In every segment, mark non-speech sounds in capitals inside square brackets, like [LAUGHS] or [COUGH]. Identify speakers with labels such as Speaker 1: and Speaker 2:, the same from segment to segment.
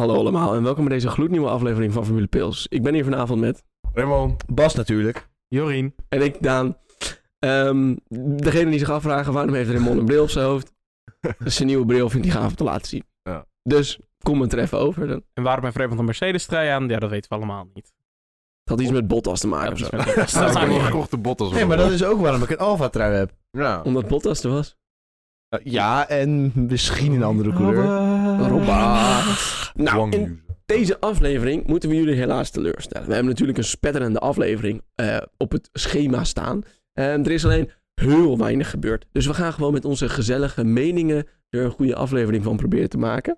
Speaker 1: Hallo allemaal en welkom bij deze gloednieuwe aflevering van Formule Pils. Ik ben hier vanavond met
Speaker 2: Raymond.
Speaker 3: Bas
Speaker 4: [LAUGHS]
Speaker 3: natuurlijk.
Speaker 2: Jorien.
Speaker 1: en ik, Daan. Ehm, degene die zich afvragen waarom heeft Raymond een bril op zijn hoofd. Zijn nieuwe bril vindt hij gaaf om te laten zien.
Speaker 2: Ja.
Speaker 1: Dus kom het er even over. Dat
Speaker 4: En waarom heeft Raymond een Mercedes-trui aan? Ja, dat weten we allemaal niet.
Speaker 1: had iets met Bottas te maken
Speaker 4: Dat
Speaker 1: of
Speaker 4: is
Speaker 1: zo.
Speaker 4: met- dat is
Speaker 2: Ah, ik heb
Speaker 4: eigenlijk-
Speaker 2: nog gekochte botten.
Speaker 3: Nee, maar dat is ook waarom ik een Alfa-trui heb.
Speaker 2: Ja.
Speaker 1: Omdat Bottas er was.
Speaker 3: Ja, en misschien een andere kleur.
Speaker 4: eh,
Speaker 1: Robert. Nou, in
Speaker 2: Dwangnews.
Speaker 1: deze aflevering moeten we jullie helaas teleurstellen. We hebben natuurlijk een spetterende aflevering eh, op het schema staan. En Ehm, er is alleen heel weinig gebeurd. Dus we gaan gewoon met onze gezellige meningen er een goede aflevering van proberen te maken.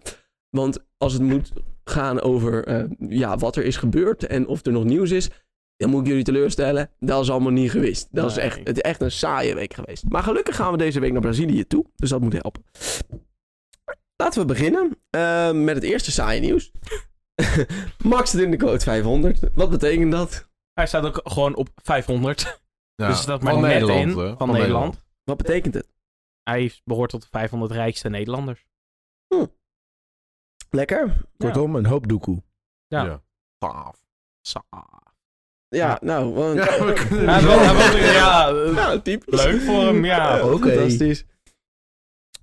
Speaker 1: Want als het moet gaan over eh, ja, wat er is gebeurd en of er nog nieuws is, dan moet ik jullie teleurstellen. Dat is allemaal niet geweest. Dat is
Speaker 4: Nee.
Speaker 1: echt, het is echt een saaie week geweest. Maar gelukkig gaan we deze week naar Brazilië toe. Dus dat moet helpen. Laten we beginnen eh, met het eerste saaie nieuws. [LAUGHS] Max zit in de quote 500. Wat betekent dat?
Speaker 4: Hij staat ook gewoon op 500.
Speaker 2: Ja.
Speaker 4: Dus dat maar
Speaker 2: Van
Speaker 4: net in
Speaker 2: hè?
Speaker 4: van, Nederland.
Speaker 1: Wat betekent het?
Speaker 4: Hij behoort tot de 500 rijkste Nederlanders.
Speaker 1: Lekker.
Speaker 3: Kortom, een hoop doekoe.
Speaker 4: Ja.
Speaker 2: Ja. Gaaf.
Speaker 4: Sa-
Speaker 1: Ja, nou. Want...
Speaker 2: Ja, we kunnen
Speaker 4: Hij
Speaker 2: er
Speaker 4: wil-
Speaker 2: zo-
Speaker 4: hij wil- Ja, eh,
Speaker 1: Nou, typisch.
Speaker 4: leuk voor hem, ja.
Speaker 3: Oké.
Speaker 1: Fantastisch.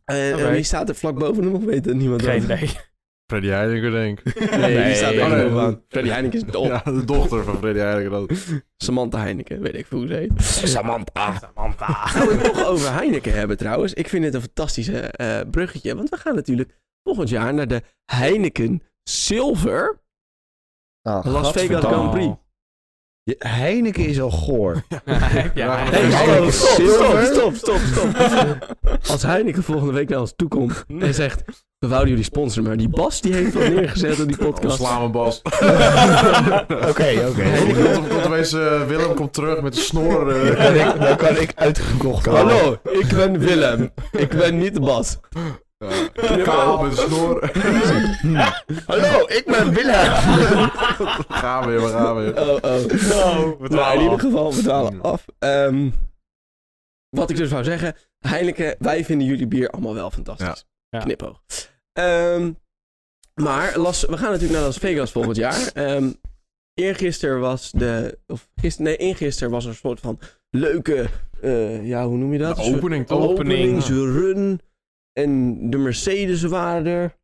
Speaker 1: En,
Speaker 4: Oké.
Speaker 1: en wie staat er vlak boven hem? Of weet het niemand
Speaker 4: Geen
Speaker 1: dat?
Speaker 4: idee.
Speaker 2: Freddy Heidegger, denk ik.
Speaker 1: Nee, die staat er
Speaker 2: Oh, nee.
Speaker 1: bovenaan. Freddy Heineken is dol.
Speaker 2: Ja, de dochter van Freddy Heidegger. Dat...
Speaker 1: Samantha Heineken, weet ik veel hoe ze heet.
Speaker 4: Samantha. Samantha.
Speaker 1: [LAUGHS] Gaan we het toch over Heineken hebben trouwens. Ik vind het een fantastische eh, bruggetje. Want we gaan natuurlijk volgend jaar naar de Heineken Silver
Speaker 3: Ah,
Speaker 1: Las Vegas
Speaker 3: gadverdamme.
Speaker 1: Grand Prix.
Speaker 3: Je- Heineken is al [LAUGHS] goor.
Speaker 4: Heb jij
Speaker 2: Ja,
Speaker 4: eigenlijk-
Speaker 1: Hey,
Speaker 2: Heineken
Speaker 1: hallo, stop, stop,
Speaker 3: Silver?
Speaker 1: stop, stop, stop. [LAUGHS] Als Heineken volgende week naar ons toe komt en zegt... We wouden jullie sponsoren, maar die Bas die heeft wat neergezet op die podcast.
Speaker 2: Ontslaan we Bas.
Speaker 3: Oké, oké.
Speaker 2: Komt- komt- komt opeens, eh, Willem komt terug met een snor. eh.
Speaker 3: Dan kan ik- Dan kan ik uitgekocht worden.
Speaker 1: Hallo, ik ben Willem. Ik ben niet Bas.
Speaker 2: Ja. Kaal met een [LAUGHS] snor.
Speaker 3: Hallo, ik ben Willem.
Speaker 2: [LAUGHS] Gaan we weer, we gaan weer.
Speaker 1: Oh, oh.
Speaker 4: Oh, we
Speaker 1: Nou,
Speaker 4: dwalen
Speaker 1: in ieder
Speaker 4: af.
Speaker 1: geval, we dwalen
Speaker 2: Hmm.
Speaker 1: af. Ehm, wat ik dus wou zeggen. Heineken, wij vinden jullie bier allemaal wel fantastisch.
Speaker 4: Ja. Ja.
Speaker 1: Knipoog. Ehm, maar Las, we gaan natuurlijk naar Las Vegas volgend jaar. Ehm eergisteren was de... Of gister, nee, eergisteren was er een soort van leuke... eh, ja, hoe noem je dat?
Speaker 2: De
Speaker 1: Een soort
Speaker 2: opening toch?
Speaker 4: opening.
Speaker 1: Openingsrun. En de Mercedes waren er.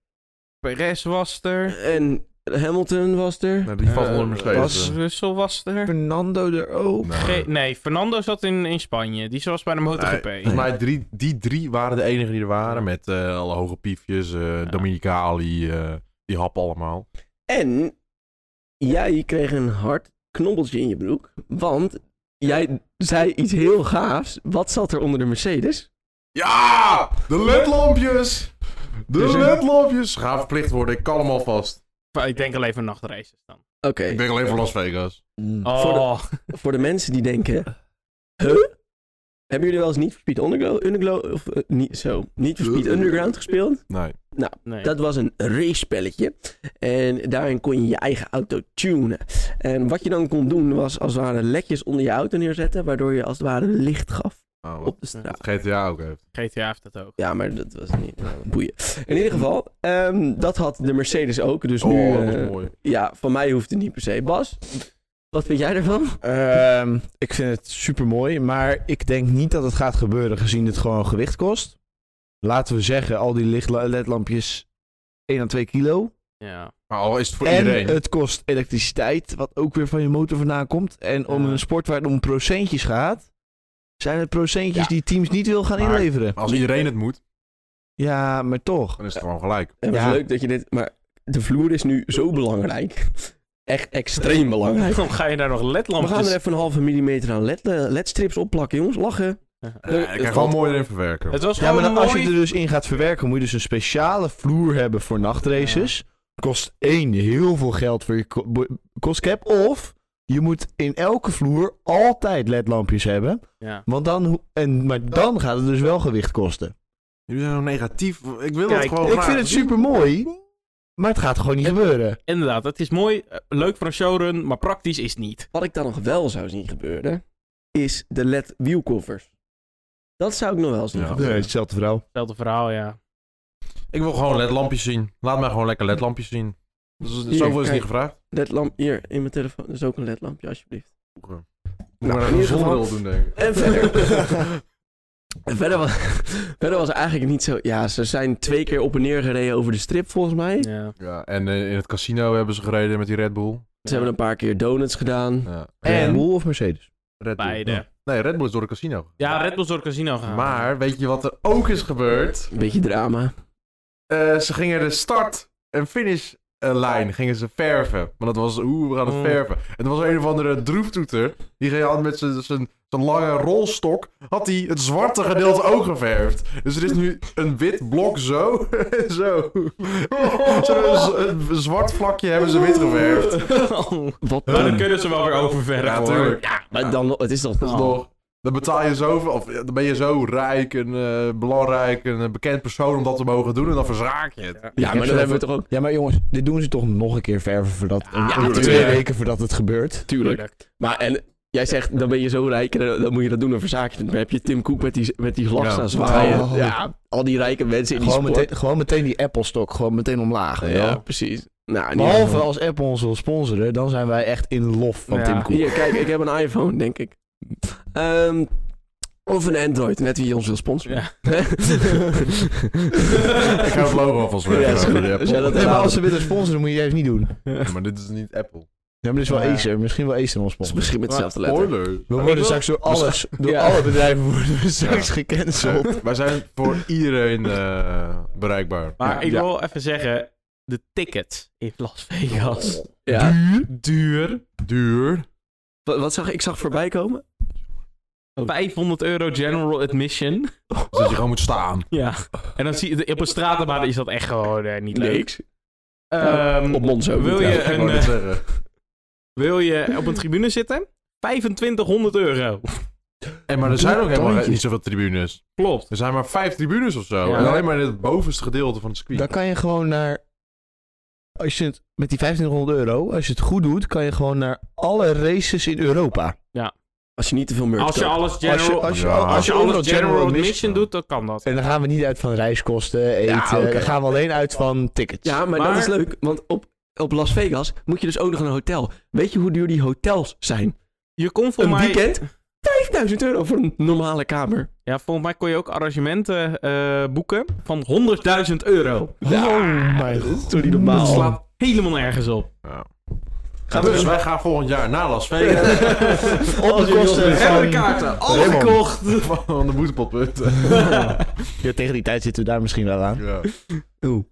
Speaker 4: Perez was er.
Speaker 1: En Hamilton was er.
Speaker 2: Nou, die valt
Speaker 4: Eh,
Speaker 2: onder
Speaker 4: Was
Speaker 2: Mercedes.
Speaker 4: Russell was er.
Speaker 3: Fernando er ook.
Speaker 4: Ge-
Speaker 2: Nou.
Speaker 4: nee, Fernando zat in, in Spanje. Die was bij de MotoGP.
Speaker 2: Volgens mij drie, die drie waren de enigen die er waren. Met eh, alle hoge piefjes, eh Dominica Ali, eh, die hap allemaal.
Speaker 1: En jij kreeg een hard knobbeltje in je broek, want jij zei iets heel gaafs. Wat zat er onder de Mercedes?
Speaker 2: Ja! De ledlampjes! De
Speaker 1: Dus een-
Speaker 2: ledlampjes gaan verplicht worden, ik kan hem alvast.
Speaker 4: Maar Ik denk alleen voor nachtraces dan.
Speaker 1: Oké,
Speaker 2: Ik denk alleen voor Las Vegas.
Speaker 3: Mm.
Speaker 4: Oh,
Speaker 1: Voor voor de mensen die denken, huh? Hebben jullie wel eens niet voor Speed Underground, Underglow- of eh, niet, zo, niet for Speed Underground gespeeld?
Speaker 2: Nee.
Speaker 4: nee.
Speaker 1: Dat was een race-spelletje en daarin kon je je eigen auto tunen. En wat je dan kon doen was als het ware lekjes onder je auto neerzetten, waardoor je als het ware licht gaf
Speaker 2: Oh, wat
Speaker 1: op de straat.
Speaker 2: GTA ook heeft.
Speaker 4: GTA heeft dat ook.
Speaker 1: Ja, maar dat was niet nou, boeien. In ieder geval, ehm, dat had de Mercedes ook. Dus nu,
Speaker 2: oh, dat
Speaker 1: eh,
Speaker 2: is mooi.
Speaker 1: ja, van mij hoeft het niet per se. Bas, wat vind jij ervan?
Speaker 3: Ehm, ik vind het super mooi, maar ik denk niet dat het gaat gebeuren gezien het gewoon gewicht kost. Laten we zeggen, al die lichtla- ledlampjes 1 à 2 kilo.
Speaker 4: Ja.
Speaker 2: Maar al is het voor
Speaker 3: en
Speaker 2: iedereen.
Speaker 3: het kost elektriciteit, wat ook weer van je motor vandaan komt. En om
Speaker 4: Ja.
Speaker 3: een sport waar het om procentjes gaat, zijn het procentjes
Speaker 2: Ja.
Speaker 3: die teams niet wil gaan
Speaker 2: Maar-
Speaker 3: inleveren.
Speaker 2: Als iedereen het moet,
Speaker 3: Ja, maar toch.
Speaker 2: dan is het gewoon gelijk.
Speaker 1: Het was
Speaker 3: Ja.
Speaker 1: leuk dat je dit... Maar de vloer is nu zo belangrijk. Echt extreem
Speaker 4: [LAUGHS]
Speaker 1: belangrijk.
Speaker 4: Dan ga je daar nog
Speaker 1: We gaan
Speaker 4: ledlampjes...
Speaker 1: er even een halve millimeter aan led, eh, ledstrips opplakken, jongens. Lachen.
Speaker 4: Eh,
Speaker 2: Ja, ik kan gewoon mooi erin verwerken.
Speaker 4: Het was
Speaker 3: Ja, maar
Speaker 4: gewoon
Speaker 3: dan, als je
Speaker 4: mooi.
Speaker 3: er dus in gaat verwerken, moet je dus een speciale vloer hebben voor nachtraces. Kost één heel veel geld voor je ko- bo- kostcap. Of je moet in elke vloer altijd ledlampjes hebben.
Speaker 4: Ja.
Speaker 3: Want dan, ho- en, maar dan gaat het dus wel gewicht kosten.
Speaker 2: Jullie zijn zo negatief. Ik wil
Speaker 4: Kijk,
Speaker 2: het
Speaker 1: Oh,
Speaker 2: gewoon
Speaker 3: ik vind het super mooi, maar het gaat gewoon niet gebeuren.
Speaker 4: Inderdaad, het is mooi, eh, leuk voor een showrun, maar praktisch is het niet.
Speaker 1: Wat ik dan nog wel zou zien gebeuren, is de led wielcovers. Dat zou ik nog wel zien
Speaker 2: Ja.
Speaker 1: gebeuren.
Speaker 3: Nee, hetzelfde verhaal.
Speaker 4: Hetzelfde verhaal, ja.
Speaker 2: Ik wil gewoon ledlampjes zien. Laat mij gewoon lekker ledlampjes zien. Dus
Speaker 1: Hier,
Speaker 2: zoveel is
Speaker 1: kijk.
Speaker 2: niet gevraagd.
Speaker 1: Ledlamp hier in mijn telefoon. Dat is ook een ledlampje, alsjeblieft.
Speaker 2: Moet maar
Speaker 1: in
Speaker 2: een
Speaker 1: ieder geval-
Speaker 2: zonnebril doen, denk ik.
Speaker 1: En verder. en verder, was, [LAUGHS] verder was er eigenlijk niet zo. Ja, ze zijn twee keer op en neer gereden over de strip, volgens mij.
Speaker 4: Ja.
Speaker 2: [LAUGHS] Ja, en eh, in het casino hebben ze gereden met die Red Bull.
Speaker 1: Ze hebben een paar keer donuts gedaan.
Speaker 2: Ja.
Speaker 3: Red
Speaker 1: En-
Speaker 3: Bull of Mercedes?
Speaker 2: Red Bull.
Speaker 4: Beide.
Speaker 2: Nee, Red Bull is door het casino.
Speaker 4: Ja, Red Bull door het casino gaan.
Speaker 2: Maar weet je wat er ook is gebeurd?
Speaker 1: Een beetje drama.
Speaker 2: Eh, ze gingen de start- en finishlijn gingen ze verven. Want dat was, oeh, we gaan het
Speaker 4: Mm.
Speaker 2: verven. En er was een of andere droeftoeter. Die ging had met zijn- zijn zijn lange rolstok. had hij het zwarte gedeelte ook geverfd. Dus er is nu een wit blok zo. [LAUGHS] en zo. Ze hebben een z- een zwart vlakje hebben ze wit geverfd.
Speaker 1: Wat
Speaker 4: [LAUGHS] Maar dan
Speaker 1: dan?
Speaker 4: kunnen ze wel weer oververven.
Speaker 2: Ja,
Speaker 4: hoor.
Speaker 2: tuurlijk.
Speaker 1: Maar dan, nog- het is toch.
Speaker 2: Dat is nog. Dan betaal je zoveel, of ja, dan ben je zo rijk en eh, belangrijk en een bekend persoon om dat te mogen doen en dan verzraak je het.
Speaker 1: Ja, maar dat hebben we toch ook.
Speaker 3: Ja, maar jongens, dit doen ze toch nog een keer verven voordat...
Speaker 4: Ja,
Speaker 3: om- om
Speaker 1: tuurlijk.
Speaker 3: twee weken voordat het gebeurt.
Speaker 1: Tuurlijk. Maar en, jij zegt, dan ben je zo rijk en dan, dan moet je dat doen, dan verzaak je het. Dan heb je Tim Cook met die, met die lach
Speaker 2: Ja.
Speaker 1: staan zwaaien.
Speaker 3: Oh.
Speaker 1: Ja, al die rijke mensen in die
Speaker 3: Gewoon
Speaker 1: sport.
Speaker 3: meteen, gewoon meteen die Apple-stok, gewoon meteen omlaag. weet je
Speaker 1: Ja,
Speaker 3: wel.
Speaker 1: precies. Nou, in ieder
Speaker 3: Behalve
Speaker 1: geval.
Speaker 3: als Apple ons wil sponsoren, dan zijn wij echt in lof van
Speaker 4: Ja.
Speaker 3: Tim Cook.
Speaker 1: Hier, kijk, ik heb een iPhone, denk ik. Ehm, of een Android, net wie ons wil sponsoren.
Speaker 4: Ja.
Speaker 2: Ik ga het logo alvast weg.
Speaker 1: Ja, is goed.
Speaker 2: Voor die Apple.
Speaker 1: Als jij dat
Speaker 3: Nee, maar
Speaker 1: hebt-
Speaker 3: als ze willen sponsoren, moet je juist niet doen. Ja,
Speaker 2: Ja, maar dit is niet Apple.
Speaker 3: maar dit is wel
Speaker 4: Ja.
Speaker 3: Acer. Misschien wel Acer ons
Speaker 1: Dat is
Speaker 3: sponsoren.
Speaker 1: misschien met hetzelfde letter.
Speaker 2: Spoiler.
Speaker 3: We
Speaker 4: Ik
Speaker 3: worden
Speaker 4: wil-
Speaker 3: straks door alles, door
Speaker 1: Ja.
Speaker 3: alle bedrijven worden
Speaker 2: [LAUGHS]
Speaker 3: we straks gecanceld.
Speaker 2: Wij zijn voor iedereen eh, bereikbaar.
Speaker 4: Maar
Speaker 1: Ja.
Speaker 4: ik wil even zeggen, de ticket in Las Vegas.
Speaker 1: Ja.
Speaker 4: Duur. Duur.
Speaker 2: Duur.
Speaker 1: Wat, wat zag ik? Ik zag voorbij komen. Oh.
Speaker 4: 500 euro general admission.
Speaker 2: Dus dat je gewoon moet staan.
Speaker 4: Ja. En dan zie je, op een stratenbaan is dat echt gewoon eh, niet leuk.
Speaker 1: Niks.
Speaker 4: Ehm,
Speaker 1: Op Monzo.
Speaker 4: wil je-
Speaker 2: Ik
Speaker 4: En,
Speaker 2: wou net
Speaker 4: eh,
Speaker 2: zeggen.
Speaker 4: wil je op een tribune zitten? 2500 euro.
Speaker 2: En maar er zijn ook helemaal
Speaker 3: tandje.
Speaker 2: niet zoveel tribunes.
Speaker 4: Klopt.
Speaker 2: Er zijn maar vijf tribunes of zo.
Speaker 4: Ja.
Speaker 2: En alleen maar in het bovenste gedeelte van het
Speaker 3: Dan
Speaker 2: circuit.
Speaker 3: kan je gewoon naar... Als je het, met die 1500 euro, als je het goed doet, kan je gewoon naar alle races in Europa.
Speaker 1: Als je niet te veel merch
Speaker 4: Als je
Speaker 1: koopt.
Speaker 4: alles
Speaker 3: Als je,
Speaker 4: general,
Speaker 3: als je,
Speaker 2: Ja.
Speaker 4: als je
Speaker 3: overal
Speaker 4: alles general admission
Speaker 3: admission-
Speaker 4: doet, dan kan dat.
Speaker 3: En dan gaan we niet uit van reiskosten, eten.
Speaker 1: Ja, oké.
Speaker 3: Dan gaan we alleen uit van tickets. [LAUGHS]
Speaker 1: Ja, maar,
Speaker 4: Maar-
Speaker 1: dat is leuk, want op, op Las Vegas moet je dus ook nog een hotel. Weet je hoe duur die hotels zijn?
Speaker 4: Je kon voor
Speaker 1: een
Speaker 4: mij...
Speaker 1: weekend? 5000 euro voor een normale kamer.
Speaker 4: Ja, volgens mij kon je ook arrangementen eh, boeken van 100.000 euro.
Speaker 3: Oh mijn god.
Speaker 1: toch niet
Speaker 4: Dat
Speaker 1: normaal?
Speaker 4: slaat helemaal nergens op.
Speaker 2: Gaan we dus wij gaan volgend jaar naar Las Vegas.
Speaker 3: Op de kosten
Speaker 4: Hebben de
Speaker 3: van...
Speaker 4: kaarten al
Speaker 3: Raymond.
Speaker 4: gekocht.
Speaker 2: Van de boetepotpunt.
Speaker 3: Ja, tegen die tijd zitten we daar misschien wel aan.
Speaker 2: Ja.
Speaker 1: Oeh,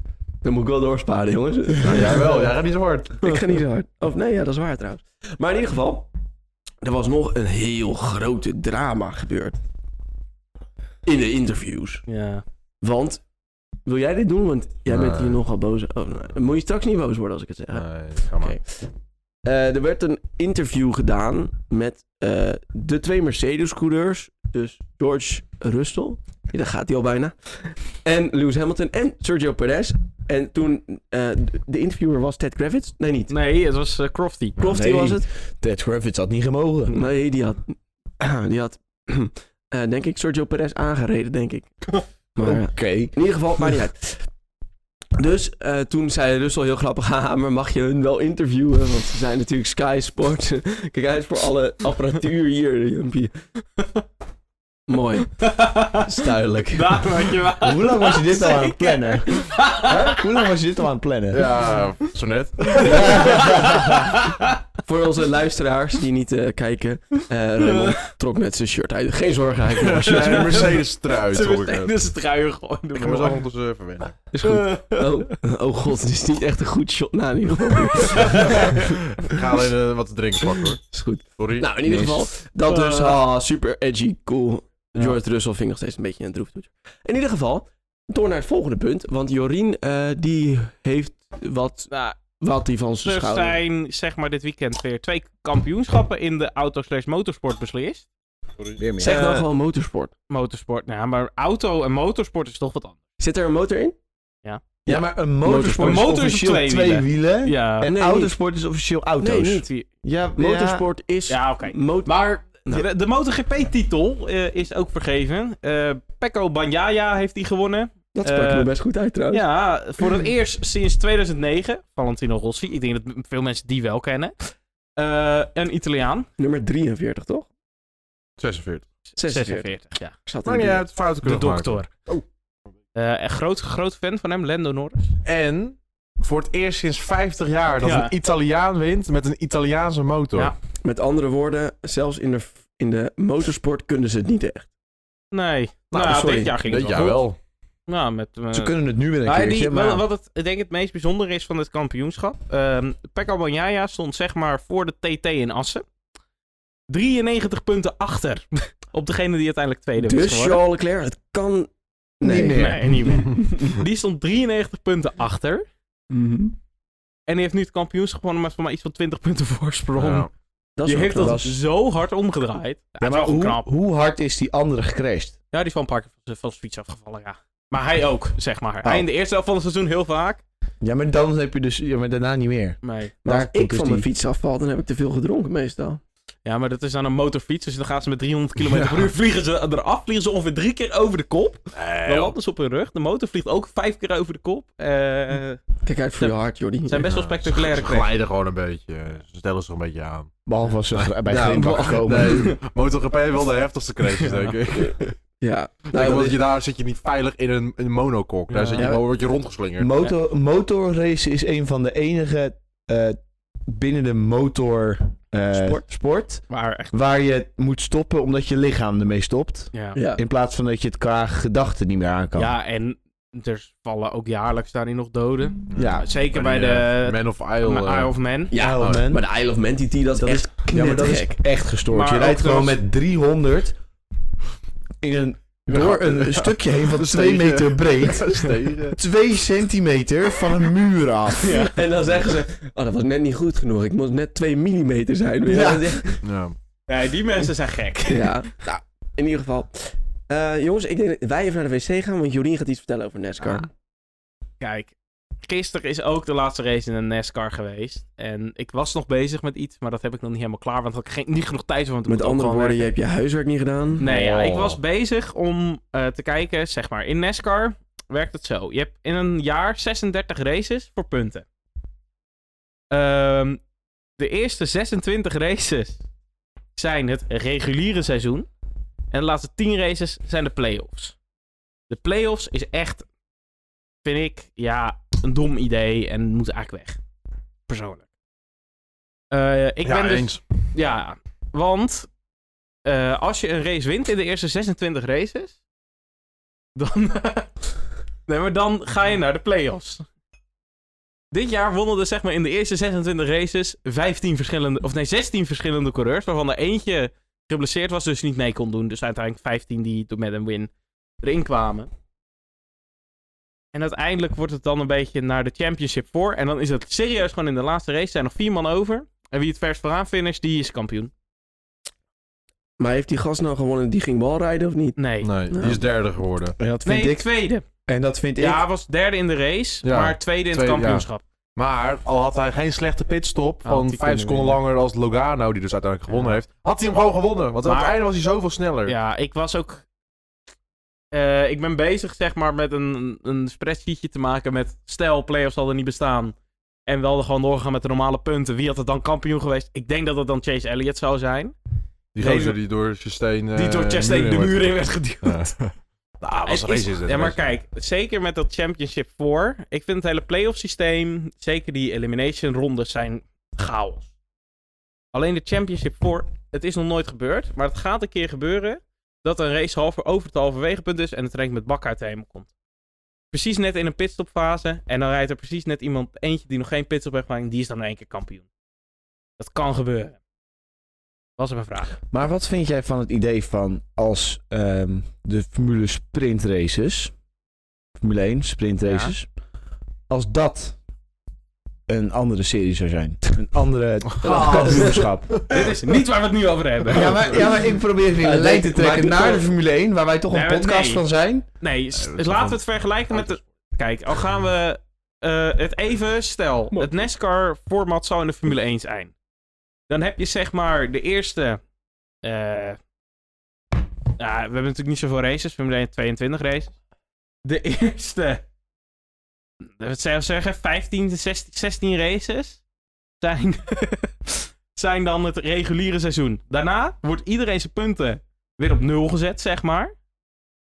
Speaker 1: dan moet ik wel doorsparen, jongens.
Speaker 2: Nou, jij wel. Jij gaat niet zo hard.
Speaker 1: [LAUGHS] ik ga niet zo hard. Of nee, ja, dat is waar trouwens. Maar in ieder geval, er was nog een heel grote drama gebeurd. In de interviews.
Speaker 4: Ja.
Speaker 1: Want, wil jij dit doen? Want jij bent
Speaker 2: Nee.
Speaker 1: hier nogal boos. Oh, nee. Dan moet je straks niet boos worden als ik het zeg.
Speaker 2: Nee, ga maar.
Speaker 1: Oké. Eh, er werd een interview gedaan met eh, de twee Mercedes-coureurs. Dus George Russell, ja, daar gaat hij al bijna. En Lewis Hamilton en Sergio Perez. En toen, eh, de interviewer was Ted Kravitz. Nee, niet.
Speaker 4: Nee, het was eh, Crofty.
Speaker 1: Klopt,
Speaker 3: Nee.
Speaker 4: [LAUGHS]
Speaker 1: was het?
Speaker 3: Ted Kravitz had niet gemogen.
Speaker 1: Nee, die had, [CLEARS THROAT] die had [CLEARS THROAT] eh, denk ik, Sergio Perez aangereden, denk [LAUGHS] ik. Maar,
Speaker 3: Oké.
Speaker 1: eh, in ieder geval, maakt niet uit. Dus eh, toen zei Russell heel grappig, [LAUGHS] haha, maar mag je hun wel interviewen? Want ze zijn natuurlijk Sky Sports. [LAUGHS] Kijk uit voor alle apparatuur hier, [LAUGHS] Jumpie. Mooi, dat is duidelijk.
Speaker 3: [LAUGHS]
Speaker 4: Daar had je wel.
Speaker 3: Hoe lang was je dit al [LAUGHS] aan het plannen? Hè? Hoe lang was je dit al aan het plannen?
Speaker 2: Ja, zo net.
Speaker 1: [LAUGHS] Voor onze luisteraars die niet eh, kijken, eh [LAUGHS] Raymond trok net zijn shirt uit. Geen zorgen, hij heeft nog een shirt. [LAUGHS]
Speaker 2: Een Mercedes trui
Speaker 4: Ze
Speaker 2: trok ik uit.
Speaker 4: meteen zijn truien gooien.
Speaker 2: Ik ga mezelf ondertussen even wennen.
Speaker 1: Is goed.
Speaker 4: [LAUGHS]
Speaker 1: Oh, [LAUGHS] oh god, dit is niet echt een goed shot. Nou, in ieder geval.
Speaker 2: Ik ga alleen eh, wat te drinken pakken [LAUGHS] hoor.
Speaker 1: Is goed.
Speaker 2: Sorry.
Speaker 1: Nou, in ieder geval, dat
Speaker 4: Eh.
Speaker 1: dus. Ah, super edgy, cool.
Speaker 4: Ja.
Speaker 1: George Russell vind ik nog steeds een beetje een droeftoeter. In ieder geval, door naar het volgende punt. Want Jorien, eh, die heeft wat,
Speaker 4: Nou,
Speaker 1: wat die van zijn
Speaker 4: er
Speaker 1: schouder...
Speaker 4: zijn zeg maar dit weekend weer twee kampioenschappen in de auto slash motorsport beslist.
Speaker 1: Zeg dan
Speaker 4: Eh.
Speaker 1: gewoon motorsport.
Speaker 4: Motorsport, nou ja, maar auto en motorsport is toch wat anders.
Speaker 1: Zit er een motor in?
Speaker 3: Ja, maar een
Speaker 1: motorsport
Speaker 4: Een
Speaker 3: motorsport is
Speaker 4: motor is
Speaker 3: officieel
Speaker 4: twee
Speaker 3: twee,
Speaker 4: wielen.
Speaker 3: wielen.
Speaker 4: Ja,
Speaker 3: En
Speaker 1: Nee,
Speaker 3: autosport is officieel auto's.
Speaker 1: Nee,
Speaker 4: niet wie-
Speaker 3: Ja,
Speaker 1: Motorsport is...
Speaker 4: ja oké.
Speaker 1: mo-
Speaker 4: Maar
Speaker 1: Nou.
Speaker 4: de, de MotoGP-titel eh, is ook vergeven. Eh Pecco Bagnaia heeft die gewonnen.
Speaker 1: Dat sprak me
Speaker 4: Eh,
Speaker 1: best goed uit trouwens.
Speaker 4: Ja, voor het eerst sinds 2009, Valentino Rossi. Ik denk dat m- veel mensen die wel kennen. Eh, een Italiaan.
Speaker 1: Nummer 43, toch?
Speaker 2: 46.
Speaker 4: 46, ja.
Speaker 1: Ik zat in
Speaker 2: Maar niet
Speaker 1: de-
Speaker 2: uit, fouten
Speaker 4: De
Speaker 2: kunnen we maken.
Speaker 4: dokter.
Speaker 2: Oh.
Speaker 4: Eh, een groot, groot fan van hem, Lando Norris.
Speaker 2: En voor het eerst sinds 50 jaar dat
Speaker 4: Ja.
Speaker 2: een Italiaan wint met een Italiaanse motor.
Speaker 4: Ja.
Speaker 1: Met andere woorden, zelfs in de, in de motorsport kunnen ze het niet echt.
Speaker 4: Nee.
Speaker 1: Nou,
Speaker 4: Nou,
Speaker 1: sorry.
Speaker 4: dit jaar ging
Speaker 2: Dit
Speaker 4: het
Speaker 2: jaar
Speaker 4: wel. goed.
Speaker 2: wel.
Speaker 4: Nou, met, eh,
Speaker 3: Ze kunnen het nu weer een
Speaker 4: Maar
Speaker 3: keertje,
Speaker 4: die,
Speaker 3: maar...
Speaker 4: wel- wat het, ik denk het meest bijzondere is van dit kampioenschap. ehm Pekka Banjaya stond zeg maar voor de TT in Assen. 93 punten achter [LAUGHS] op degene die uiteindelijk tweede was
Speaker 1: Dus
Speaker 4: geworden.
Speaker 1: Charles Leclerc, het kan nee.
Speaker 3: Niet meer.
Speaker 4: Nee, niet meer. [LAUGHS] Die stond 93 punten achter.
Speaker 1: Mhm.
Speaker 4: En die heeft nu het kampioenschap gewonnen met voor mij iets van 20 punten voorsprong.
Speaker 2: Ja.
Speaker 1: Dat is
Speaker 4: die
Speaker 1: wel
Speaker 4: heeft dat
Speaker 1: knap. Dus
Speaker 4: zo hard omgedraaid. Ja,
Speaker 3: Ja,
Speaker 4: maar
Speaker 3: maar hoe,
Speaker 4: knap.
Speaker 3: hoe hard is die andere gecrashed?
Speaker 4: Ja, die is wel een paar keer van zijn- van zijn fiets afgevallen, ja. Maar hij ook, zeg maar.
Speaker 3: Oh.
Speaker 4: Hij in de eerste helft van het seizoen heel vaak.
Speaker 3: Ja, maar dan heb je dus... Ja, maar daarna niet meer.
Speaker 4: Nee.
Speaker 1: Maar als
Speaker 3: Daar komt
Speaker 1: ik
Speaker 3: dus
Speaker 1: van mijn
Speaker 3: die-
Speaker 1: fiets afval, dan heb ik te veel gedronken meestal.
Speaker 4: Ja, maar dat is dan een motorfiets. Dus dan gaan ze met 300 km per uur vliegen ze eraf. Vliegen ze ongeveer drie keer over de kop. Dan landen ze op hun rug. De motor vliegt ook vijf keer over de kop. Eh,
Speaker 1: Kijk uit voor
Speaker 4: Ja.
Speaker 1: je hart, Jordi.
Speaker 4: het zijn best wel
Speaker 2: Ja,
Speaker 4: spectaculaire
Speaker 2: Ze
Speaker 4: crashes.
Speaker 2: glijden gewoon een beetje. Ze stellen zich een beetje aan.
Speaker 3: Behalve als ze bij
Speaker 2: Ja,
Speaker 3: Greenbak
Speaker 2: maar-
Speaker 3: komen. [LAUGHS]
Speaker 2: Nee, MotoGP wel de heftigste crashes, denk ik.
Speaker 1: Ja.
Speaker 2: Nee,
Speaker 1: Nou,
Speaker 2: want je, daar zit je niet veilig in een, in een monocoque. Daar
Speaker 4: Ja.
Speaker 2: zit je
Speaker 3: Ja.
Speaker 2: gewoon word je rondgeslingerd.
Speaker 3: Motor, Motorrace is een van de enige eh, binnen de motor eh,
Speaker 1: Sport.
Speaker 3: sport
Speaker 4: Maar echt,
Speaker 3: waar je moet stoppen omdat je lichaam ermee stopt.
Speaker 4: ja.
Speaker 1: ja.
Speaker 3: In plaats van dat je het qua gedachten niet meer aan kan.
Speaker 4: Ja, en er vallen ook jaarlijks daarin nog doden.
Speaker 3: Ja.
Speaker 4: Zeker
Speaker 2: Bij
Speaker 4: bij
Speaker 2: die,
Speaker 4: de
Speaker 2: Man of Isle.
Speaker 4: Ma-
Speaker 2: eh,
Speaker 4: Isle of Man.
Speaker 1: Ja,
Speaker 3: Isle of Man.
Speaker 1: maar de Isle of Man, die, die, dat,
Speaker 3: Dat
Speaker 1: is
Speaker 3: is-
Speaker 1: echt
Speaker 3: Ja, maar dat is
Speaker 1: knettergek.
Speaker 3: echt gestoord.
Speaker 4: Maar
Speaker 3: je rijdt
Speaker 4: ook
Speaker 3: gewoon
Speaker 4: dus-
Speaker 3: met 300 in een, door een stukje heen van
Speaker 2: Dat is
Speaker 3: 2
Speaker 2: tegen-
Speaker 3: meter breed.
Speaker 2: dat is tegen.
Speaker 3: 2 centimeter van een muur af.
Speaker 1: En dan zeggen ze, oh, dat was net niet goed genoeg. Ik moest net 2 mm zijn.
Speaker 3: Ja.
Speaker 1: Ja. dat is echt-
Speaker 2: Ja.
Speaker 4: [LAUGHS] Nee, die mensen zijn gek.
Speaker 1: ja. Nou, in ieder geval. Eh, jongens, ik denk dat wij even naar de wc gaan, want Jorien gaat iets vertellen over NASCAR.
Speaker 4: Kijk, gisteren is ook de laatste race in een NASCAR geweest. En ik was nog bezig met iets, maar dat heb ik nog niet helemaal klaar. Want had ik geen, niet genoeg tijd van.
Speaker 1: Met andere woorden, je hebt je huiswerk niet gedaan.
Speaker 4: Nee, ja, ik
Speaker 2: Oh.
Speaker 4: was bezig om eh, te kijken, zeg maar, in NASCAR werkt het zo. Je hebt in een jaar 36 races voor punten. Ehm, de eerste 26 races zijn het reguliere seizoen. En de laatste 10 races zijn de play-offs. De play-offs is echt, vind ik, ja, een dom idee en moet eigenlijk weg. Persoonlijk. Eh, ik
Speaker 2: ja,
Speaker 4: ben dus
Speaker 2: eens.
Speaker 4: ja, want eh, als je een race wint in de eerste 26 races, dan, [LAUGHS] nee, maar dan ga je naar de play-offs. Dit jaar wonnen er zeg maar in de eerste 26 races 15 verschillende, of nee, 16 verschillende coureurs, waarvan er eentje geblesseerd was, dus niet mee kon doen. Dus uiteindelijk 15 die door- met een win erin kwamen. En uiteindelijk wordt het dan een beetje naar de championship voor. En dan is het serieus gewoon in de laatste race. zijn nog vier man over. En wie het vers vooraan finisht, die is kampioen.
Speaker 1: Maar heeft die gast nou gewonnen, die ging balrijden of niet?
Speaker 4: Nee.
Speaker 2: Nee, die is derde geworden.
Speaker 3: En dat vind
Speaker 4: Nee,
Speaker 3: ik...
Speaker 4: tweede.
Speaker 3: En dat vind ik...
Speaker 4: Ja, hij was derde in de race,
Speaker 2: Ja.
Speaker 4: maar tweede in
Speaker 2: Tweede,
Speaker 4: het kampioenschap.
Speaker 2: Maar al had hij geen slechte pitstop
Speaker 4: Had
Speaker 2: van
Speaker 4: hij
Speaker 2: vijf
Speaker 4: kunnen
Speaker 2: seconden
Speaker 4: winnen.
Speaker 2: langer als Logano, die dus uiteindelijk gewonnen
Speaker 4: Ja.
Speaker 2: heeft, had hij hem gewoon gewonnen. Want aan
Speaker 4: Maar-
Speaker 2: het einde was hij zoveel
Speaker 4: Ja,
Speaker 2: sneller.
Speaker 4: ik was ook... eh, ik ben bezig, zeg maar, met een, een spreadsheetje te maken met... Stel, playoffs hadden niet bestaan. En wel gewoon doorgaan met de normale punten. Wie had het dan kampioen geweest? Ik denk dat het dan Chase Elliott zou zijn.
Speaker 2: Die
Speaker 4: Nee,
Speaker 2: gozer
Speaker 4: de-
Speaker 2: die door Chastain... eh,
Speaker 4: die door Chastain de
Speaker 2: werd-
Speaker 4: muur in werd geduwd.
Speaker 2: Ja. nou, was
Speaker 4: Het
Speaker 2: een race is
Speaker 4: is-
Speaker 2: het.
Speaker 4: Ja, maar
Speaker 2: race.
Speaker 4: kijk, zeker met dat championship voor. Ik vind het hele playoff systeem, zeker die elimination rondes zijn chaos. Alleen de championship voor, het is nog nooit gebeurd, maar het gaat een keer gebeuren dat een race halver over het halverwege punt is en het rank met bak uit de hemel komt. Precies net in een pitstopfase en dan rijdt er precies net iemand eentje die nog geen pitstop heeft gemaakt en die is dan in één keer kampioen. Dat kan gebeuren. Was er een vraag?
Speaker 3: Maar wat vind jij van het idee van als ehm, de Formule Sprint Races, Formule 1 Sprint
Speaker 4: Ja.
Speaker 3: Races, als dat een andere serie zou zijn? Een andere kampioenschap.
Speaker 4: Dit is niet waar we het nu over hebben.
Speaker 3: Ja maar, ja, maar ik probeer weer een lijn te trekken naar de Formule 1, waar wij toch
Speaker 4: Nee,
Speaker 3: een
Speaker 4: maar
Speaker 3: podcast
Speaker 4: nee.
Speaker 3: van zijn.
Speaker 4: Nee, s-
Speaker 2: Eh, dat is
Speaker 4: laten
Speaker 2: wel-
Speaker 4: we het vergelijken met de... Kijk, al gaan we eh, het even... Stel, het NASCAR-format zou in de Formule 1 zijn. Dan heb je zeg maar de eerste... eh, nou, ja, we hebben natuurlijk niet zoveel races. Formule 1 22 races. de [LAUGHS] eerste, wat zou je zeggen, 15, 16, 16 races zijn, [LAUGHS] zijn dan het reguliere seizoen. Daarna wordt iedereen zijn punten weer op nul gezet, zeg maar.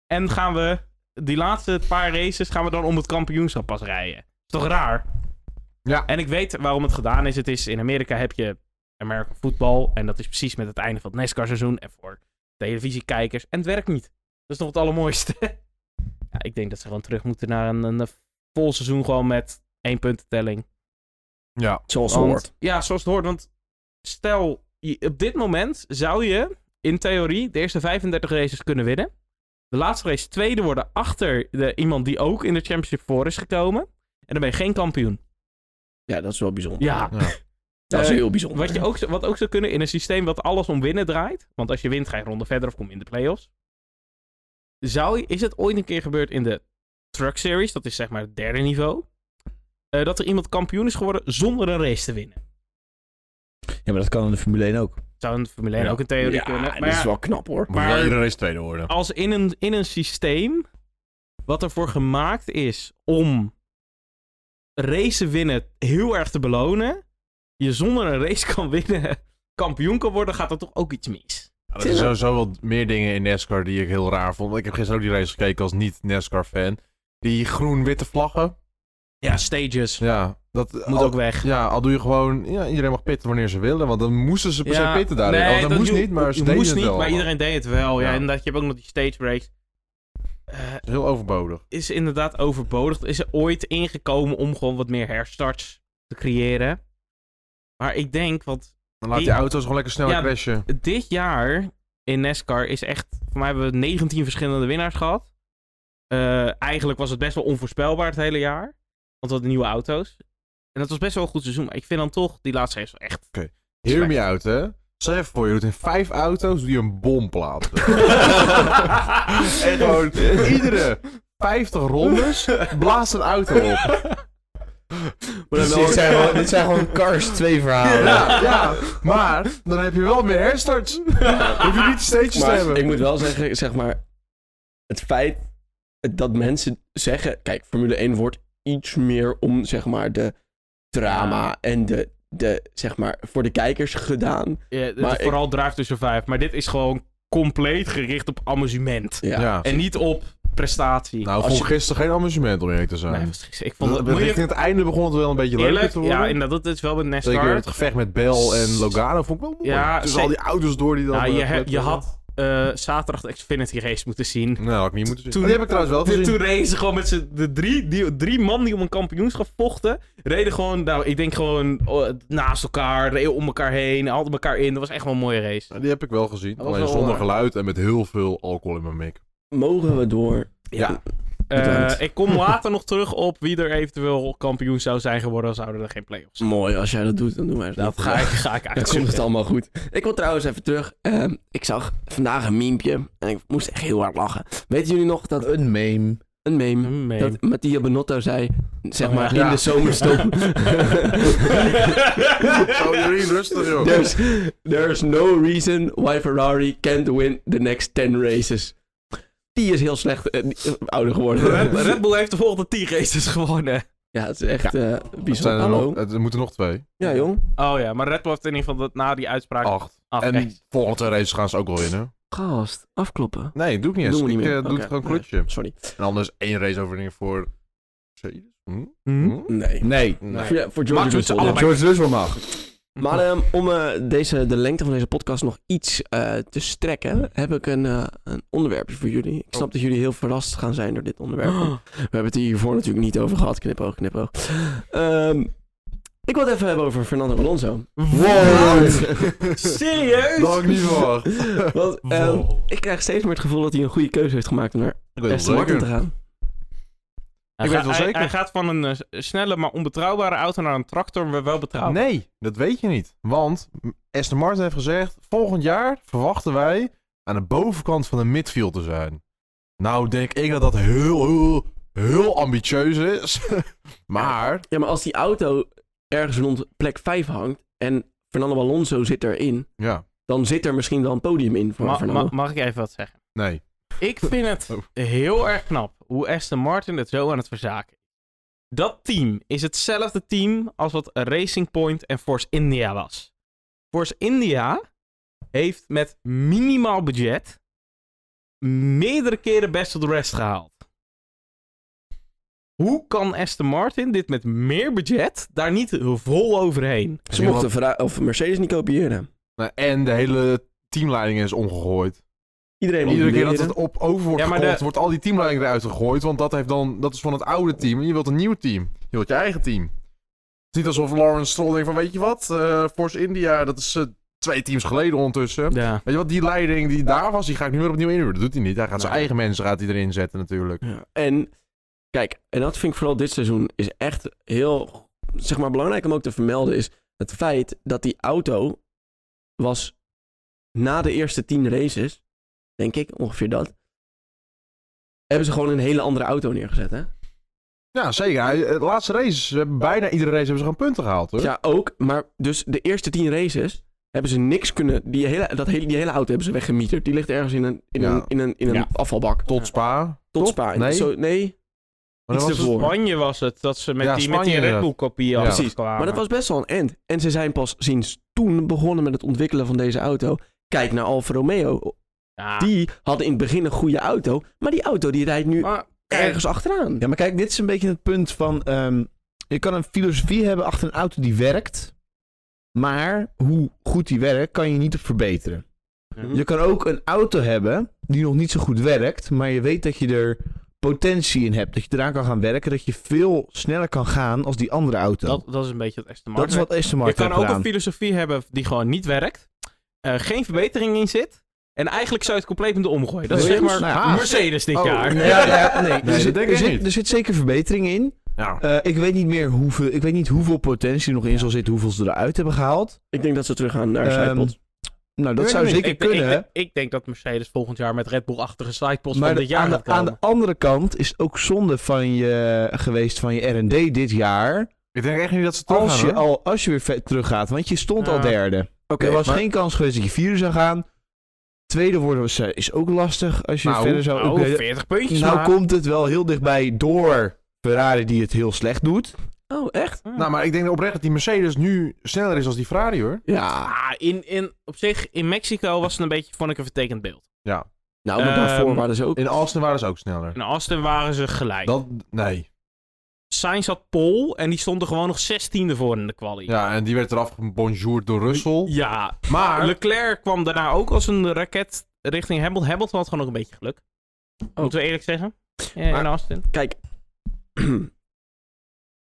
Speaker 4: En gaan we die laatste paar races gaan we dan om het kampioenschap pas rijden. Is toch raar?
Speaker 2: Ja.
Speaker 4: En ik weet waarom het gedaan is. Het is in Amerika heb je American voetbal. En dat is precies met het einde van het NASCAR-seizoen. En voor televisiekijkers. En het werkt niet. Dat is nog het allermooiste. [LAUGHS] ja, ik denk dat ze gewoon terug moeten naar een, een vol seizoen. Gewoon met één puntentelling.
Speaker 2: Ja.
Speaker 1: Zoals het
Speaker 4: Want-
Speaker 1: hoort.
Speaker 4: Ja, zoals het hoort. Want stel, je- op dit moment zou je in theorie de eerste 35 races kunnen winnen. De laatste race tweede worden achter de, iemand die ook in de championship voor is gekomen. En dan ben je geen kampioen.
Speaker 1: Ja, dat is wel bijzonder.
Speaker 4: Ja,
Speaker 1: Dat is
Speaker 4: Eh,
Speaker 1: heel bijzonder.
Speaker 4: Wat, je ook, wat ook zou kunnen in een systeem wat alles om winnen draait. Want als je wint, ga je een ronde verder of kom je in de playoffs. Zou, je- is het ooit een keer gebeurd in de Truck Series, dat is zeg maar het derde niveau, eh, dat er iemand kampioen is geworden zonder een race te winnen?
Speaker 3: Ja, maar dat kan in de Formule 1 ook.
Speaker 4: Zou een Formule 1
Speaker 2: Ja.
Speaker 4: ook een theorie
Speaker 1: ja,
Speaker 4: kunnen?
Speaker 1: dat
Speaker 4: Maar
Speaker 1: is
Speaker 4: ja,
Speaker 1: wel knap hoor.
Speaker 4: Maar- Oh, wel iedere
Speaker 2: race tweede worden.
Speaker 4: als in een, in een systeem wat ervoor gemaakt is om racen winnen heel erg te belonen, je zonder een race [LAUGHS] kan winnen, kampioen kan worden, gaat er toch ook iets mis?
Speaker 2: er zijn sowieso wel meer dingen in NASCAR die ik heel raar vond. Ik heb gisteren ook die race gekeken als niet-NASCAR-fan. Die groen-witte vlaggen.
Speaker 4: Ja, stages.
Speaker 2: Ja, oh. dat
Speaker 4: Moet
Speaker 2: al-
Speaker 4: ook weg.
Speaker 2: Ja, al doe je gewoon... Ja, iedereen mag pitten wanneer ze willen. Want dan moesten ze per se pitten daarin.
Speaker 4: nee,
Speaker 2: Oh, dat, moest
Speaker 4: je-
Speaker 2: niet, maar ze
Speaker 4: je
Speaker 2: deden
Speaker 4: moest
Speaker 2: het
Speaker 4: niet,
Speaker 2: wel.
Speaker 4: maar iedereen deed het wel. Ja,
Speaker 2: Ja.
Speaker 4: inderdaad. Je hebt ook nog die stage breaks. Eh,
Speaker 2: Heel overbodig.
Speaker 4: is inderdaad overbodig. Is er ooit ingekomen om gewoon wat meer herstarts te creëren. Maar ik denk, want
Speaker 2: Dan laat die
Speaker 4: Ik-
Speaker 2: auto's gewoon lekker snel
Speaker 4: Ja,
Speaker 2: crashen.
Speaker 4: dit jaar in NASCAR is echt... Voor mij hebben we 19 verschillende winnaars gehad. Eh, eigenlijk was het best wel onvoorspelbaar het hele jaar. Want we hadden nieuwe auto's. En dat was best wel een goed seizoen. Maar ik vind dan toch, die laatste race wel echt...
Speaker 2: Hear me out, hè. Stel je even voor, je doet in vijf auto's die een bom [LAUGHS] plaatsen. en gewoon iedere 50 rondes blaast een auto op.
Speaker 1: Maar dan wel-
Speaker 3: Dus dit, zijn gewoon, dit zijn gewoon Cars 2 verhalen.
Speaker 2: Ja, ja, maar dan heb je wel meer herstarts. Hoef je niet steeds te
Speaker 1: Maar
Speaker 2: hebben.
Speaker 1: ik moet wel zeggen, zeg maar, het feit dat mensen zeggen, kijk, Formule 1 wordt iets meer om, zeg maar, de drama en de, de, zeg maar, voor de kijkers gedaan.
Speaker 4: Ja, het-
Speaker 1: Maar ik-
Speaker 4: vooral drive tussen vijf. Maar dit is gewoon compleet gericht op amusement.
Speaker 1: Ja.
Speaker 4: En niet op prestatie.
Speaker 2: Nou,
Speaker 1: Als
Speaker 2: vond
Speaker 1: je-
Speaker 2: gisteren geen amusement om eerlijk te
Speaker 1: eh,
Speaker 2: zijn.
Speaker 4: nee, was gisteren- ik vond het
Speaker 2: Richting
Speaker 4: moeilijk.
Speaker 2: het einde begon het wel een beetje leuker
Speaker 4: Eerlijk,
Speaker 2: te worden.
Speaker 4: ja, inderdaad, dat is wel met
Speaker 2: Zeker
Speaker 4: NASCAR.
Speaker 2: het gevecht met Bel en Logano vond ik wel mooi.
Speaker 4: Ja,
Speaker 2: Tussen
Speaker 4: ze-
Speaker 2: al die auto's door die dan...
Speaker 4: Nou, je,
Speaker 2: eh,
Speaker 4: he- je
Speaker 2: worden.
Speaker 4: had eh, zaterdag de Xfinity race moeten zien.
Speaker 2: Nou, had ik niet moeten zien.
Speaker 4: Toen-
Speaker 2: die heb ik trouwens wel
Speaker 4: Toen,
Speaker 2: gezien.
Speaker 4: toen reden ze gewoon met z'n de drie, die, drie man die om een kampioenschap vochten. Reden gewoon, nou, ik denk gewoon oh, naast elkaar, reden om elkaar heen, hadden elkaar in. Dat was echt wel een mooie race.
Speaker 2: Ja, Die heb ik wel gezien.
Speaker 1: Dat was
Speaker 2: Alleen
Speaker 1: wel,
Speaker 2: zonder
Speaker 1: eh,
Speaker 2: geluid en met heel veel alcohol in mijn mik.
Speaker 1: Mogen we door?
Speaker 2: Ja.
Speaker 4: Eh,
Speaker 1: bedankt.
Speaker 4: ik kom later nog terug op wie er eventueel kampioen zou zijn geworden, zouden er geen play-offs zijn.
Speaker 1: Mooi, als jij dat doet, dan doen wij het.
Speaker 4: Dat ga ik, ga
Speaker 1: [LAUGHS] Dan
Speaker 4: ik
Speaker 1: komt
Speaker 4: uitzoeken.
Speaker 1: het allemaal goed. Ik wil trouwens even terug. Ehm, ik zag vandaag een miempje en ik moest echt heel hard lachen. Weten jullie nog dat
Speaker 3: Een meme.
Speaker 1: een meme
Speaker 4: Nee.
Speaker 1: dat Mattia Benotto zei, zeg
Speaker 4: Oh,
Speaker 1: maar,
Speaker 4: ja.
Speaker 1: in de
Speaker 2: [LAUGHS]
Speaker 4: [LAUGHS]
Speaker 1: zomerstop.
Speaker 2: Zo, jullie rustig, joh.
Speaker 1: There's, there's no reason why Ferrari can't win the next 10 races. Die is heel slecht eh, die- eh, ouder geworden.
Speaker 4: [LAUGHS] Red, Red Bull heeft de volgende 10 races gewonnen.
Speaker 1: ja, het is echt eh
Speaker 2: Er zijn
Speaker 1: bizar.
Speaker 2: er,
Speaker 1: Hallo.
Speaker 2: nog, Eh, er moeten nog twee.
Speaker 1: Ja, jong.
Speaker 4: Oh ja, maar Red Bull heeft in ieder geval dat na die uitspraak
Speaker 2: Acht.
Speaker 4: af.
Speaker 2: en
Speaker 4: echt.
Speaker 2: volgende twee races gaan ze ook wel winnen.
Speaker 1: Gast, afkloppen.
Speaker 2: Nee, doe ik niet eens.
Speaker 1: Doen we
Speaker 2: ik
Speaker 1: niet meer.
Speaker 2: eh, doe
Speaker 1: Oké.
Speaker 2: het gewoon
Speaker 1: Nee.
Speaker 2: klutje.
Speaker 1: Sorry.
Speaker 2: En anders één race overwinning voor... Mercedes? Hm? Hm?
Speaker 1: Nee.
Speaker 3: Nee.
Speaker 2: Nee.
Speaker 1: Voor, ja, voor George
Speaker 4: Maakt het
Speaker 1: Russell,
Speaker 4: ze allebei-
Speaker 1: ja.
Speaker 3: George Russell mag.
Speaker 1: Maar
Speaker 4: [LAUGHS]
Speaker 1: ehm, om eh, deze, de lengte van deze podcast nog iets eh, te strekken, heb ik een, eh, een onderwerpje voor jullie. Ik snap dat jullie heel verrast gaan zijn door dit onderwerp. We hebben het hier hiervoor natuurlijk niet over gehad. Knipoog, knipoog. Ehm, ik wil het even hebben over Fernando Alonso.
Speaker 2: [LAUGHS]
Speaker 4: Serieus?
Speaker 2: Dat had ik niet verwacht.
Speaker 1: Want ehm, ik krijg steeds meer het gevoel dat hij een goede keuze heeft gemaakt om naar
Speaker 2: Ik weet het
Speaker 1: Aston
Speaker 2: wel
Speaker 1: Martin
Speaker 2: zeker.
Speaker 1: te gaan.
Speaker 4: Hij
Speaker 2: Ik weet het wel
Speaker 4: gaat- hij-
Speaker 2: zeker.
Speaker 4: Hij gaat van een eh, snelle maar onbetrouwbare auto naar een tractor, maar wel betrouwbaar.
Speaker 2: Nee, dat weet je niet. Want Aston Martin heeft gezegd... volgend jaar verwachten wij aan de bovenkant van de midfield te zijn. Nou denk ik dat dat heel, heel, heel ambitieus is. [LAUGHS] maar...
Speaker 1: Ja, maar als die auto ergens rond plek 5 hangt en Fernando Alonso zit erin,
Speaker 2: Ja,
Speaker 1: dan zit er misschien wel een podium in voor
Speaker 4: Ma-
Speaker 1: Fernando.
Speaker 4: ma- mag ik even wat zeggen?
Speaker 2: nee.
Speaker 4: Ik vind het
Speaker 2: Oh.
Speaker 4: heel erg knap hoe Aston Martin het zo aan het verzaken is. Dat team is hetzelfde team als wat Racing Point en Force India was. Force India heeft met minimaal budget meerdere keren best of the rest gehaald. Hoe kan Aston Martin dit met meer budget daar niet vol overheen?
Speaker 1: Ze mochten Ferra- of Mercedes niet kopiëren.
Speaker 2: Nou, en de hele teamleiding is omgegooid.
Speaker 1: Iedereen moet
Speaker 2: Iedere keer dat
Speaker 1: leren.
Speaker 2: het op over wordt
Speaker 4: Ja, maar
Speaker 2: gekocht,
Speaker 4: de-
Speaker 2: wordt al die teamleiding eruit gegooid. Want dat, heeft dan, dat is van het oude team. En je wilt een nieuw team. Je wilt je eigen team. Het is niet alsof Lawrence Stroll denkt van, weet je wat? eh, Force India, dat is eh, twee teams geleden ondertussen.
Speaker 4: Ja.
Speaker 2: Weet je wat, die leiding die daar was, die ga ik nu weer opnieuw inhuren. Dat doet hij niet. Hij gaat zijn
Speaker 1: Nee.
Speaker 2: eigen mensen gaat hij erin zetten natuurlijk.
Speaker 1: Ja, En kijk, en dat vind ik vooral dit seizoen is echt heel, zeg maar, belangrijk om ook te vermelden is het feit dat die auto was na de eerste tien races, denk ik, ongeveer dat, hebben ze gewoon een hele andere auto neergezet, hè?
Speaker 2: Ja, zeker. Hij- De laatste races, ze hebben bijna iedere race hebben ze gewoon punten gehaald. Hoor.
Speaker 1: Ja, ook, maar dus de eerste tien races hebben ze niks kunnen, die hele, dat hele, die hele auto hebben ze weggemieterd. Die ligt ergens in een, in
Speaker 2: Ja.
Speaker 1: een, in een, in een
Speaker 4: Ja.
Speaker 1: afvalbak.
Speaker 2: Tot Spa.
Speaker 1: Tot
Speaker 2: Tot?
Speaker 1: Spa.
Speaker 2: Nee.
Speaker 1: Zo, nee,
Speaker 2: Maar
Speaker 1: iets
Speaker 2: dan was het-
Speaker 1: ervoor.
Speaker 4: Spanje was het, dat ze met,
Speaker 2: Ja,
Speaker 4: die, met die
Speaker 2: Spanje,
Speaker 4: Red Bull kopie
Speaker 2: Ja.
Speaker 4: kwamen.
Speaker 1: Precies, Maar dat was best wel een end. En ze zijn pas sinds toen begonnen met het ontwikkelen van deze auto. Kijk naar Alfa Romeo.
Speaker 4: Ja.
Speaker 1: Die hadden in het begin een goede auto. Maar die auto die rijdt nu
Speaker 4: Maar-
Speaker 1: ergens achteraan.
Speaker 3: Ja, maar kijk, dit is een beetje het punt van... ehm, je kan een filosofie hebben achter een auto die werkt. Maar hoe goed die werkt, kan je niet op verbeteren.
Speaker 4: Ja.
Speaker 1: Hm?
Speaker 3: Je kan ook een auto hebben die nog niet zo goed werkt. Maar je weet dat je er potentie in hebt. Dat je eraan kan gaan werken. Dat je veel sneller kan gaan als die andere auto.
Speaker 4: Dat,
Speaker 3: Dat,
Speaker 4: dat is een beetje het Aston
Speaker 3: is
Speaker 4: Martin.
Speaker 3: wat Aston
Speaker 4: je
Speaker 3: Martin
Speaker 4: kan ook
Speaker 3: heeft
Speaker 4: een filosofie hebben die gewoon niet werkt, eh, geen verbetering in zit, en eigenlijk zou je het compleet moeten omgooien. Dat is zeg
Speaker 3: Williams?
Speaker 4: maar
Speaker 3: Nou ja.
Speaker 4: Mercedes dit
Speaker 2: Oh,
Speaker 4: jaar.
Speaker 3: Nee, ja, ja,
Speaker 4: [LAUGHS]
Speaker 3: nee.
Speaker 2: Nee,
Speaker 3: er, zit,
Speaker 2: dat denk
Speaker 3: er
Speaker 2: ik
Speaker 3: zit-
Speaker 2: niet.
Speaker 3: er zit zeker verbetering in.
Speaker 2: Ja.
Speaker 3: Eh, ik weet niet meer hoeveel, ik weet niet hoeveel potentie er nog in zal zitten, hoeveel ze eruit hebben gehaald.
Speaker 1: Ik denk dat ze terug gaan naar
Speaker 3: Ehm,
Speaker 1: Zijpot.
Speaker 3: Nou,
Speaker 4: Ik
Speaker 3: dat zou
Speaker 4: weet
Speaker 3: zeker
Speaker 4: niet. Ik- Ik,
Speaker 3: kunnen.
Speaker 4: ik, ik denk dat Mercedes volgend jaar met Red Bull-achtige sidepods
Speaker 3: maar
Speaker 4: van dit jaar
Speaker 3: aan,
Speaker 4: gaat
Speaker 3: de, aan
Speaker 4: komen.
Speaker 3: de andere kant is het ook zonde van je, geweest van je R&D dit jaar.
Speaker 2: Ik denk echt niet dat ze terug
Speaker 3: Als
Speaker 2: gaan,
Speaker 3: je,
Speaker 2: hoor.
Speaker 3: al, als je weer ver- teruggaat, want je stond
Speaker 4: Ja.
Speaker 3: al derde.
Speaker 1: Oké,
Speaker 3: er was
Speaker 1: maar-
Speaker 3: geen kans geweest dat je vierde zou gaan. Tweede worden was, eh, is ook lastig als je
Speaker 2: Nou,
Speaker 3: verder zou...
Speaker 4: Oh,
Speaker 3: Oké,
Speaker 4: 40 puntjes maar.
Speaker 3: nou komt het wel heel dichtbij door Ferrari die het heel slecht doet.
Speaker 1: Oh, echt?
Speaker 4: Hmm.
Speaker 2: Nou, maar ik denk oprecht dat die Mercedes nu sneller is dan die Ferrari, hoor.
Speaker 1: Ja.
Speaker 4: Ah, in, in, op zich, in Mexico was het een beetje, vond ik een vertekend beeld.
Speaker 1: Nou, maar daarvoor
Speaker 4: Ehm,
Speaker 1: waren ze ook... [CLEARS THROAT]
Speaker 2: In Alston waren ze ook sneller.
Speaker 4: In Aston waren ze gelijk.
Speaker 2: Dat, nee.
Speaker 4: Sainz had Pol en die stond er gewoon nog 16e voor in de quali.
Speaker 2: Ja, en die werd eraf gebonjourd door Russell.
Speaker 4: ja
Speaker 2: Maar,
Speaker 4: Leclerc kwam daarna ook als een raket richting Hamilton. Hamilton had gewoon ook een beetje geluk. Moeten we eerlijk zeggen. Ja,
Speaker 1: Maar-
Speaker 4: in Austin.
Speaker 1: Kijk.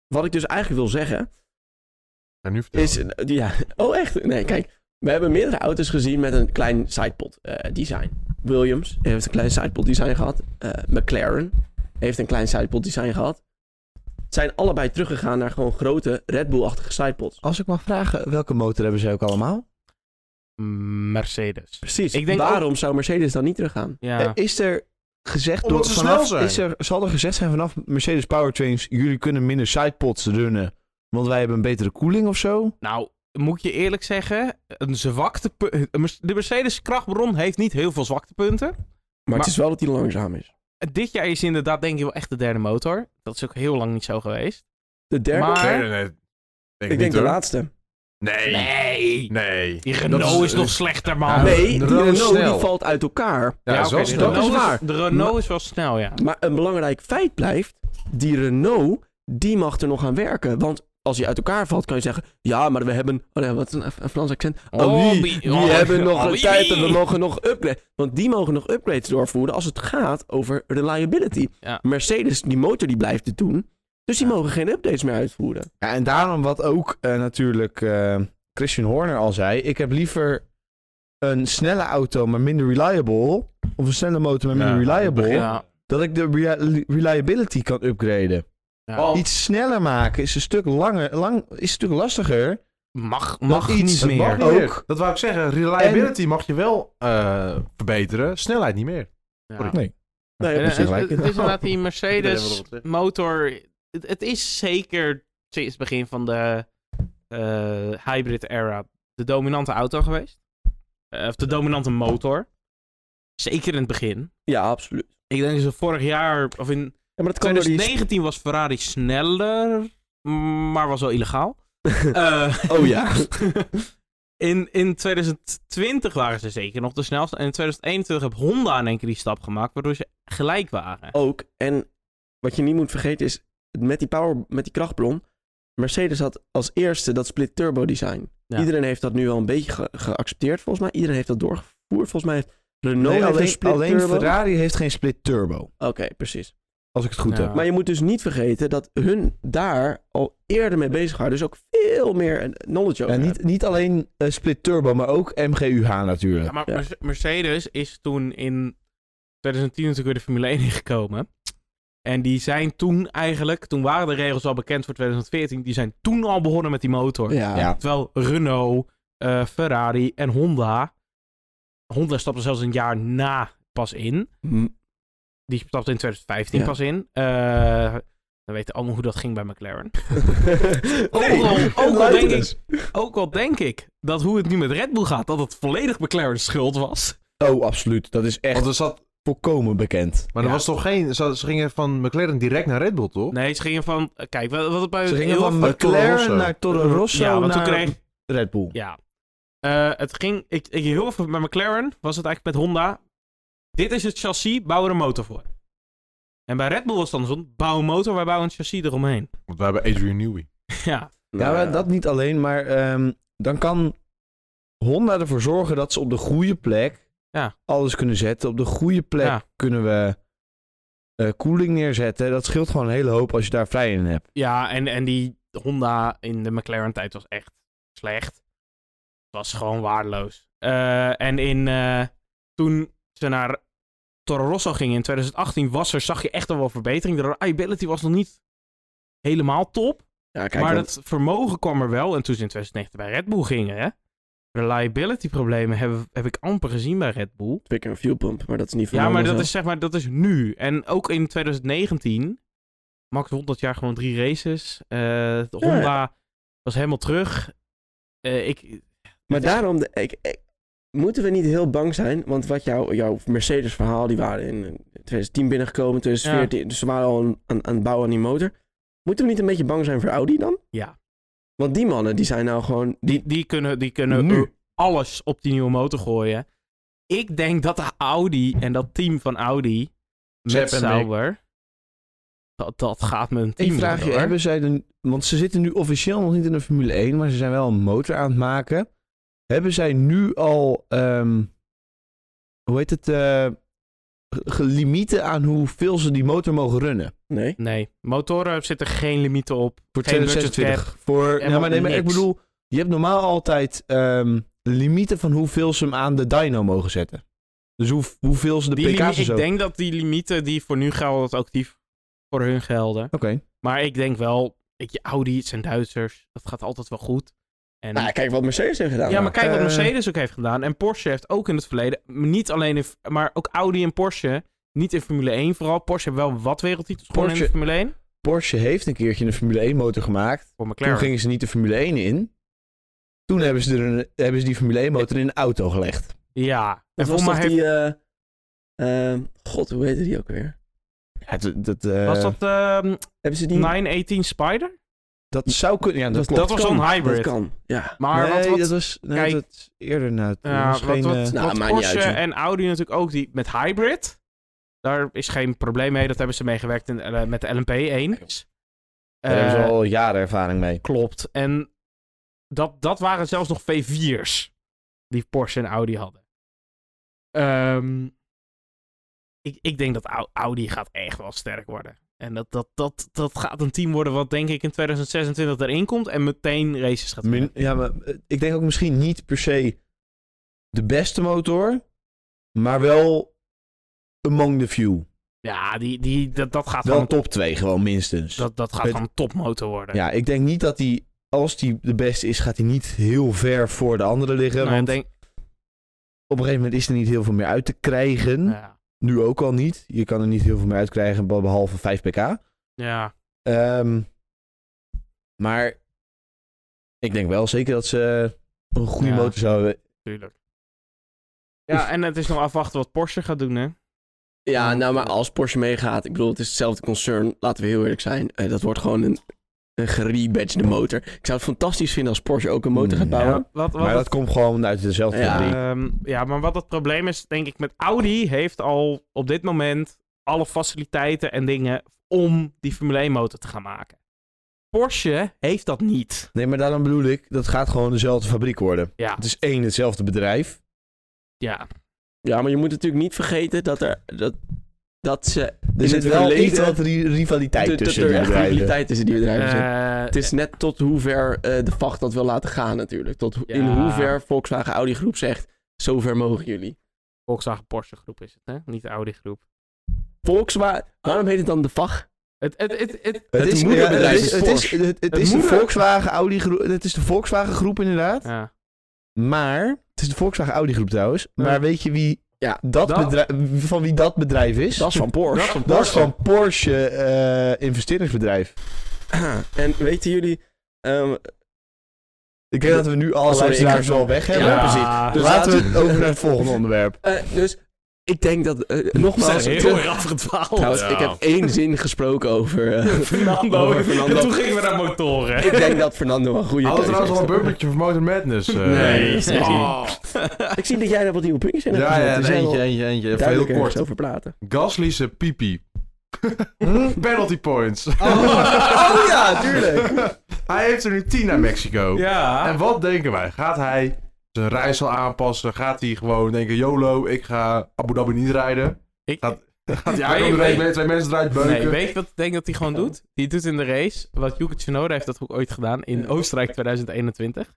Speaker 1: Wat ik dus eigenlijk wil zeggen...
Speaker 2: en nu vertel.
Speaker 1: Is, ja, oh echt? Nee, kijk. We hebben meerdere auto's gezien met een klein sidepod eh, design. Williams heeft een klein sidepod design gehad. Eh, McLaren heeft een klein sidepod design gehad. Zijn allebei teruggegaan naar gewoon grote Red Bull-achtige sidepods.
Speaker 3: Als ik mag vragen, welke motor hebben zij ook allemaal?
Speaker 4: Mercedes.
Speaker 1: Precies.
Speaker 4: Ik denk
Speaker 1: Waarom zou Mercedes dan niet teruggaan?
Speaker 4: Ja.
Speaker 3: Eh, Is er gezegd
Speaker 2: Omdat
Speaker 3: door
Speaker 2: ze
Speaker 3: vanaf,
Speaker 2: snel zijn.
Speaker 3: Is er, zal er gezegd zijn vanaf Mercedes Powertrains, jullie kunnen minder sidepods runnen, want wij hebben een betere koeling of zo?
Speaker 4: Nou, moet je eerlijk zeggen, een zwaktepunt. De Mercedes krachtbron heeft niet heel veel zwaktepunten.
Speaker 1: Maar,
Speaker 4: Maar-
Speaker 1: het is wel dat hij langzaam is.
Speaker 4: Dit jaar is inderdaad denk ik wel echt de derde motor. Dat is ook heel lang niet zo geweest.
Speaker 1: De derde?
Speaker 4: Maar-
Speaker 2: Nee, nee, nee. Denk
Speaker 1: ik
Speaker 2: niet,
Speaker 1: denk de
Speaker 2: hoor.
Speaker 1: laatste.
Speaker 2: Nee.
Speaker 4: Nee.
Speaker 2: Nee.
Speaker 4: Die
Speaker 2: Dat
Speaker 4: Renault is, nog slechter, man.
Speaker 2: Ja,
Speaker 1: nee, die
Speaker 2: de Renault
Speaker 1: Renault
Speaker 2: snel.
Speaker 1: die valt uit elkaar.
Speaker 2: Ja,
Speaker 4: oké, dus
Speaker 2: zo
Speaker 4: de
Speaker 1: snel.
Speaker 2: snel.
Speaker 1: dat is
Speaker 4: Renault
Speaker 1: waar.
Speaker 4: De Renault is wel snel, ja.
Speaker 1: Maar een belangrijk feit blijft, die Renault, die mag er nog aan werken. Want als hij uit elkaar valt, kan je zeggen, ja, maar we hebben, oh nee, wat is een, een Frans accent?
Speaker 4: Oh,
Speaker 1: Allee,
Speaker 4: bi-
Speaker 1: we
Speaker 4: oh,
Speaker 1: hebben nog
Speaker 4: allee.
Speaker 1: een tijd en we mogen nog upgraden. Want die mogen nog upgrades doorvoeren als het gaat over reliability.
Speaker 4: Ja.
Speaker 1: Mercedes, die motor die blijft het doen, dus die mogen geen updates meer uitvoeren.
Speaker 3: Ja, en daarom wat ook eh, natuurlijk eh, Christian Horner al zei, ik heb liever een snelle auto maar minder reliable, of een snelle motor maar minder
Speaker 2: Ja,
Speaker 3: reliable,
Speaker 2: begin-
Speaker 4: Ja.
Speaker 3: dat ik de rea- reliability kan upgraden.
Speaker 4: Ja.
Speaker 2: Oh.
Speaker 3: Iets sneller maken is een stuk, langer, lang, is een stuk lastiger.
Speaker 4: Mag, mag
Speaker 3: iets,
Speaker 4: niet
Speaker 3: dat
Speaker 4: meer.
Speaker 3: mag niet.
Speaker 2: Ook.
Speaker 3: Ook.
Speaker 2: Dat wou ik zeggen. Reliability mag je wel eh, verbeteren. Snelheid niet meer.
Speaker 4: Ja.
Speaker 3: Nee.
Speaker 1: Nee,
Speaker 4: En,
Speaker 1: precies
Speaker 4: eh,
Speaker 1: gelijk.
Speaker 4: het, het is inderdaad die
Speaker 2: Iedereen wil
Speaker 4: Mercedes
Speaker 2: erop zitten.
Speaker 4: motor. Het, het is zeker sinds het begin van de eh, hybrid era de dominante auto geweest. Eh, of de dominante motor. Zeker in het begin.
Speaker 1: Ja, absoluut.
Speaker 4: Ik denk dat ze vorig jaar, of in
Speaker 1: Ja, maar dat kan door die...
Speaker 4: 2019 was Ferrari sneller, maar was wel
Speaker 1: [LAUGHS]
Speaker 4: illegaal. Eh, [LAUGHS]
Speaker 1: Oh ja.
Speaker 4: in, in 2020 waren ze zeker nog de snelste. En in 2021 heb Honda in één keer die stap gemaakt, waardoor ze gelijk waren.
Speaker 1: ook. En wat je niet moet vergeten is, met die power, met die krachtbron, Mercedes had als eerste dat split turbo design.
Speaker 4: Ja.
Speaker 1: Iedereen heeft dat nu al een beetje ge- geaccepteerd volgens mij. Iedereen heeft dat doorgevoerd. Volgens mij heeft Renault
Speaker 3: Nee,
Speaker 1: heeft een
Speaker 3: alleen,
Speaker 1: split
Speaker 3: alleen
Speaker 1: turbo.
Speaker 3: Ferrari heeft geen split turbo.
Speaker 1: Oké, precies.
Speaker 3: Als ik het goed
Speaker 4: Ja.
Speaker 3: heb.
Speaker 1: Maar je moet dus niet vergeten dat hun daar al eerder mee bezig waren. Dus ook veel meer een- knowledge
Speaker 3: Ja,
Speaker 1: over
Speaker 3: niet,
Speaker 1: hebben.
Speaker 3: niet alleen eh, split turbo, maar ook MGUH natuurlijk.
Speaker 4: Ja, maar
Speaker 1: Ja.
Speaker 4: Merce- Mercedes is toen in 2010 natuurlijk weer de Formule 1 ingekomen. En die zijn toen eigenlijk, toen waren de regels al bekend voor 2014, die zijn toen al begonnen met die motor.
Speaker 1: Ja.
Speaker 3: Ja.
Speaker 4: Terwijl Renault, eh, Ferrari en Honda, Honda stapte zelfs een jaar na pas in.
Speaker 1: Hm,
Speaker 4: Die stapte in 2015
Speaker 1: Ja.
Speaker 4: pas in. Eh, we weten allemaal hoe dat ging bij McLaren.
Speaker 1: [LAUGHS] Nee,
Speaker 4: al- ook al
Speaker 1: luister
Speaker 4: oh, denk
Speaker 1: eens.
Speaker 4: Ook al denk ik dat hoe het nu met Red Bull gaat, dat het volledig McLaren's schuld was.
Speaker 3: Oh, absoluut. Dat is echt
Speaker 2: Want er zat,
Speaker 3: volkomen bekend.
Speaker 2: maar er
Speaker 4: Ja.
Speaker 2: was toch geen... Ze, ze gingen van McLaren direct naar Red Bull, toch?
Speaker 4: Nee, ze gingen van, eh, kijk, wat wat het bij
Speaker 3: Ze gingen
Speaker 4: heel
Speaker 3: van
Speaker 2: Toro Rosso.
Speaker 3: McLaren naar Toro Rosso
Speaker 4: Ja, want toen
Speaker 3: naar
Speaker 4: kreeg-
Speaker 3: Red Bull.
Speaker 4: Ja. Eh, het ging, ik, ik heel veel met McLaren was het eigenlijk met Honda. Dit is het chassis, bouw er een motor voor. En bij Red Bull was het andersom. Bouw een motor, wij bouwen een chassis eromheen.
Speaker 2: Want we hebben Adrian Newey.
Speaker 4: ja.
Speaker 3: Ja, maar dat niet alleen, maar ehm, dan kan Honda ervoor zorgen dat ze op de goede plek
Speaker 4: Ja.
Speaker 3: alles kunnen zetten. Op de goede plek
Speaker 4: Ja.
Speaker 3: kunnen we eh, koeling neerzetten. Dat scheelt gewoon een hele hoop als je daar vrij in hebt.
Speaker 4: Ja, en, en die Honda in de McLaren-tijd was echt slecht. Het was gewoon waardeloos. Eh, en in, eh, toen ze naar Toro Rosso gingen in 2018, was er, zag je echt al wel verbetering. De reliability was nog niet helemaal top.
Speaker 1: Ja, kijk,
Speaker 4: maar
Speaker 1: want-
Speaker 4: dat vermogen kwam er wel. En toen ze in 2019 bij Red Bull gingen, hè. Reliability problemen heb, heb ik amper gezien bij Red Bull.
Speaker 1: Pik en fuel pump, maar dat is niet van
Speaker 4: Ja,
Speaker 1: mij
Speaker 4: maar dat
Speaker 1: zelf.
Speaker 4: is zeg maar, dat is nu. En ook in 2019, Max won dat jaar gewoon drie races. Eh, de
Speaker 1: Ja.
Speaker 4: Honda was helemaal terug. Eh, ik,
Speaker 1: Maar daarom, de- ik, ik- moeten we niet heel bang zijn? Want wat jou, jouw Mercedes-verhaal, die waren in 2010 binnengekomen, 2014, dus ze waren al aan, aan, aan het bouwen aan die motor. Moeten we niet een beetje bang zijn voor Audi dan?
Speaker 4: Ja.
Speaker 1: Want die mannen, die zijn nou gewoon...
Speaker 4: die, die kunnen, die kunnen
Speaker 3: Nu.
Speaker 4: alles op die nieuwe motor gooien. Ik denk dat de Audi en dat team van Audi met
Speaker 2: Sepp en Mick.
Speaker 4: Sauber... Dat, dat gaat met een team
Speaker 3: Ik vraag
Speaker 4: worden,
Speaker 3: je,
Speaker 4: hoor.
Speaker 3: hebben zij de, want ze zitten nu officieel nog niet in de Formule 1, maar ze zijn wel een motor aan het maken. Hebben zij nu al, ehm, hoe heet het, eh, ge- gelimieten aan hoeveel ze die motor mogen runnen?
Speaker 1: Nee.
Speaker 4: Nee, motoren zitten geen limieten op.
Speaker 3: Voor
Speaker 4: Geen budget
Speaker 3: 2026. Voor,
Speaker 4: Ja,
Speaker 3: nee, maar, nee,
Speaker 4: maar
Speaker 3: maar ik
Speaker 4: niks.
Speaker 3: bedoel, je hebt normaal altijd ehm, limieten van hoeveel ze hem aan de dyno mogen zetten. Dus hoe, hoeveel ze de
Speaker 4: Die
Speaker 3: pk's
Speaker 4: limi-
Speaker 3: en zo.
Speaker 4: ik
Speaker 3: Oké.
Speaker 4: denk dat die limieten die voor nu gelden, dat ook die voor hun gelden. Maar ik denk wel, ik, Audi, het zijn Duitsers, dat gaat altijd wel goed. En,
Speaker 1: Nou, kijk wat Mercedes heeft gedaan.
Speaker 4: ja, maar kijk wat
Speaker 3: eh,
Speaker 4: Mercedes ook heeft gedaan. En Porsche heeft ook in het verleden, niet alleen in, maar ook Audi en Porsche, niet in Formule 1 vooral. Porsche heeft wel wat wereldtitels gewonnen in de
Speaker 3: Porsche-
Speaker 4: Formule 1.
Speaker 3: Porsche heeft een keertje een Formule 1 motor gemaakt.
Speaker 4: Voor
Speaker 3: Toen
Speaker 4: McLaren.
Speaker 3: gingen ze niet de Formule 1 in. Toen hebben ze, er een, hebben ze die Formule 1 motor in een auto gelegd.
Speaker 4: Ja. En
Speaker 1: Dat was
Speaker 4: volgens mij
Speaker 1: toch
Speaker 4: heeft,
Speaker 1: die... eh, ehm, God, hoe heette die ook weer?
Speaker 3: Ja, dat, dat, eh,
Speaker 4: was dat ehm,
Speaker 1: Hebben ze die...
Speaker 4: 918 Spider?
Speaker 3: dat zou kunnen. Ja, dat,
Speaker 1: Dat-
Speaker 3: klopt.
Speaker 4: Dat was zo'n
Speaker 1: Dat
Speaker 4: hybrid.
Speaker 1: kan, ja.
Speaker 4: Maar
Speaker 3: nee,
Speaker 4: wat, wat,
Speaker 3: dat was nee,
Speaker 4: kijk-
Speaker 3: dat is eerder na. het-
Speaker 4: Ja,
Speaker 3: dat was
Speaker 4: wat,
Speaker 3: geen,
Speaker 4: wat,
Speaker 3: eh,
Speaker 1: Nou, maakt
Speaker 4: wat
Speaker 1: niet
Speaker 4: Porsche
Speaker 1: uit, joh.
Speaker 4: en Audi natuurlijk ook die met hybrid. Daar is geen probleem mee. Dat hebben ze meegewerkt in, eh, met de LMP 1.
Speaker 3: daar hebben ze al jaren ervaring mee.
Speaker 4: Eh, Klopt. En dat, dat waren zelfs nog V4's die Porsche en Audi hadden. Ehm, ik, ik denk dat Au- Audi gaat echt wel sterk worden. En dat, dat, dat, dat gaat een team worden wat denk ik in 2026 erin komt en meteen races gaat winnen.
Speaker 3: Min- ja, maar eh, ik denk ook misschien niet per se de beste motor, maar wel among the few.
Speaker 4: Ja, die, die, dat, dat gaat
Speaker 3: Wel
Speaker 4: gewoon
Speaker 3: top 2 gewoon minstens.
Speaker 4: Dat, dat gaat
Speaker 3: Het-
Speaker 4: gewoon een topmotor worden.
Speaker 3: ja, ik denk niet dat die, als die de beste is, gaat hij niet heel ver voor de andere liggen.
Speaker 4: Nou, ik
Speaker 3: want
Speaker 4: denk,
Speaker 3: op een gegeven moment is er niet heel veel meer uit te krijgen.
Speaker 4: ja.
Speaker 3: Nu ook al niet. Je kan er niet heel veel meer uit krijgen, be- behalve 5 pk.
Speaker 4: ja.
Speaker 3: Ehm, maar ik denk wel zeker dat ze een goede
Speaker 4: Ja.
Speaker 3: motor zouden
Speaker 4: tuurlijk. Ja, en het is nog afwachten wat Porsche gaat doen, hè?
Speaker 1: Ja, nou, maar als Porsche meegaat, ik bedoel, het is hetzelfde concern, laten we heel eerlijk zijn. Eh, dat wordt gewoon een, een gerebadgede motor. Ik zou het fantastisch vinden als Porsche ook een motor gaat
Speaker 3: Mm, ja.
Speaker 1: bouwen.
Speaker 4: wat, wat
Speaker 3: Maar
Speaker 4: het-
Speaker 3: dat komt gewoon uit dezelfde
Speaker 1: Ja.
Speaker 3: fabriek.
Speaker 4: Ehm, ja, maar wat het probleem is, denk ik, met Audi heeft al op dit moment alle faciliteiten en dingen om die Formule 1 motor te gaan maken. Porsche heeft dat niet.
Speaker 3: Nee, maar daarom bedoel ik, dat gaat gewoon dezelfde fabriek worden.
Speaker 4: Ja.
Speaker 3: Het is één hetzelfde bedrijf.
Speaker 4: Ja,
Speaker 1: Ja, maar je moet natuurlijk niet vergeten dat er. Dat, dat ze.
Speaker 3: Er zit
Speaker 1: het
Speaker 3: wel
Speaker 1: verleden-
Speaker 3: iets wat ri- rivaliteit
Speaker 1: dat- dat
Speaker 3: tussen
Speaker 1: er
Speaker 3: die
Speaker 1: echt
Speaker 3: bedrijven.
Speaker 1: rivaliteit tussen die
Speaker 3: dus
Speaker 1: bedrijven zit.
Speaker 4: eh,
Speaker 1: Het is net tot hoever eh, de vacht dat wil laten gaan, natuurlijk. Tot ho- in
Speaker 4: Ja.
Speaker 1: hoever Volkswagen Audi Groep zegt: zover mogen jullie.
Speaker 4: Volkswagen Porsche groep is het, hè? Niet de Audi groep.
Speaker 1: Volkswagen. Waarom heet het dan de VAG?
Speaker 4: Het, het, het, het,
Speaker 1: Het
Speaker 3: is-
Speaker 1: moederbedrijf
Speaker 3: het is-
Speaker 1: is
Speaker 3: het is-
Speaker 1: Porsche.
Speaker 3: Het het
Speaker 4: Het
Speaker 3: is de
Speaker 4: moeder-
Speaker 3: Volkswagen Audi groep. Het is de Volkswagen groep inderdaad.
Speaker 4: ja.
Speaker 3: Maar het is de Volkswagen Audi groep trouwens.
Speaker 4: Ja.
Speaker 3: Maar weet je wie
Speaker 1: Ja,
Speaker 3: dat
Speaker 4: dat-
Speaker 3: bedrijf, van wie dat bedrijf is?
Speaker 1: Dat is van
Speaker 4: Dat
Speaker 1: Porsche.
Speaker 4: van
Speaker 3: Dat is
Speaker 4: Porsche.
Speaker 3: van Porsche eh, investeringsbedrijf.
Speaker 1: [CLEARS THROAT] En weten jullie. ehm,
Speaker 3: Ik denk dat we nu alle
Speaker 1: Sorry,
Speaker 3: luisteraars
Speaker 1: ik ga-
Speaker 3: wel weg hebben.
Speaker 1: Ja,
Speaker 4: precies.
Speaker 3: Dus
Speaker 1: Dus
Speaker 3: laten we
Speaker 1: laten-
Speaker 3: het over naar het volgende onderwerp.
Speaker 1: eh, dus ik denk dat. eh, nogmaals.
Speaker 4: Zijn
Speaker 1: terug-
Speaker 4: erg afgedwaald.
Speaker 1: Trouwens, ik heb één zin gesproken over. eh,
Speaker 4: [LAUGHS] Fernando.
Speaker 1: over
Speaker 4: [LAUGHS]
Speaker 1: Fernando.
Speaker 4: En toen gingen we naar motoren.
Speaker 1: Ik denk dat Fernando een goede
Speaker 2: Hadden we
Speaker 1: keuze
Speaker 2: trouwens al een
Speaker 1: heeft.
Speaker 2: bumpertje van Motor Madness? eh?
Speaker 1: Nee, dat is echt
Speaker 2: Oh.
Speaker 1: [LAUGHS] Ik zie dat jij daar wat nieuwe puntjes in hebt
Speaker 2: Ja,
Speaker 1: gezet.
Speaker 2: ja,
Speaker 1: Dus
Speaker 2: eentje,
Speaker 1: jij
Speaker 2: eentje,
Speaker 1: wil
Speaker 2: eentje, Even heel
Speaker 1: duidelijk ergens
Speaker 2: kort.
Speaker 1: over praten.
Speaker 2: Gasly zijn pipi. Penalty points.
Speaker 1: Oh ja, tuurlijk.
Speaker 2: hij heeft er nu 10 naar Mexico.
Speaker 4: Ja.
Speaker 2: En wat denken wij? Gaat hij zijn reis al aanpassen? Gaat hij gewoon denken, YOLO, ik ga Abu Dhabi niet rijden?
Speaker 4: Ik-
Speaker 2: Gaat, gaat hij
Speaker 4: Nee,
Speaker 2: eigenlijk om de
Speaker 4: nee.
Speaker 2: race mee, twee mensen eruit beuken?
Speaker 4: Nee, weet je wat ik denk dat hij gewoon doet? Die doet in de race, wat Yuki Tsunoda heeft dat ook ooit gedaan in Oostenrijk 2021.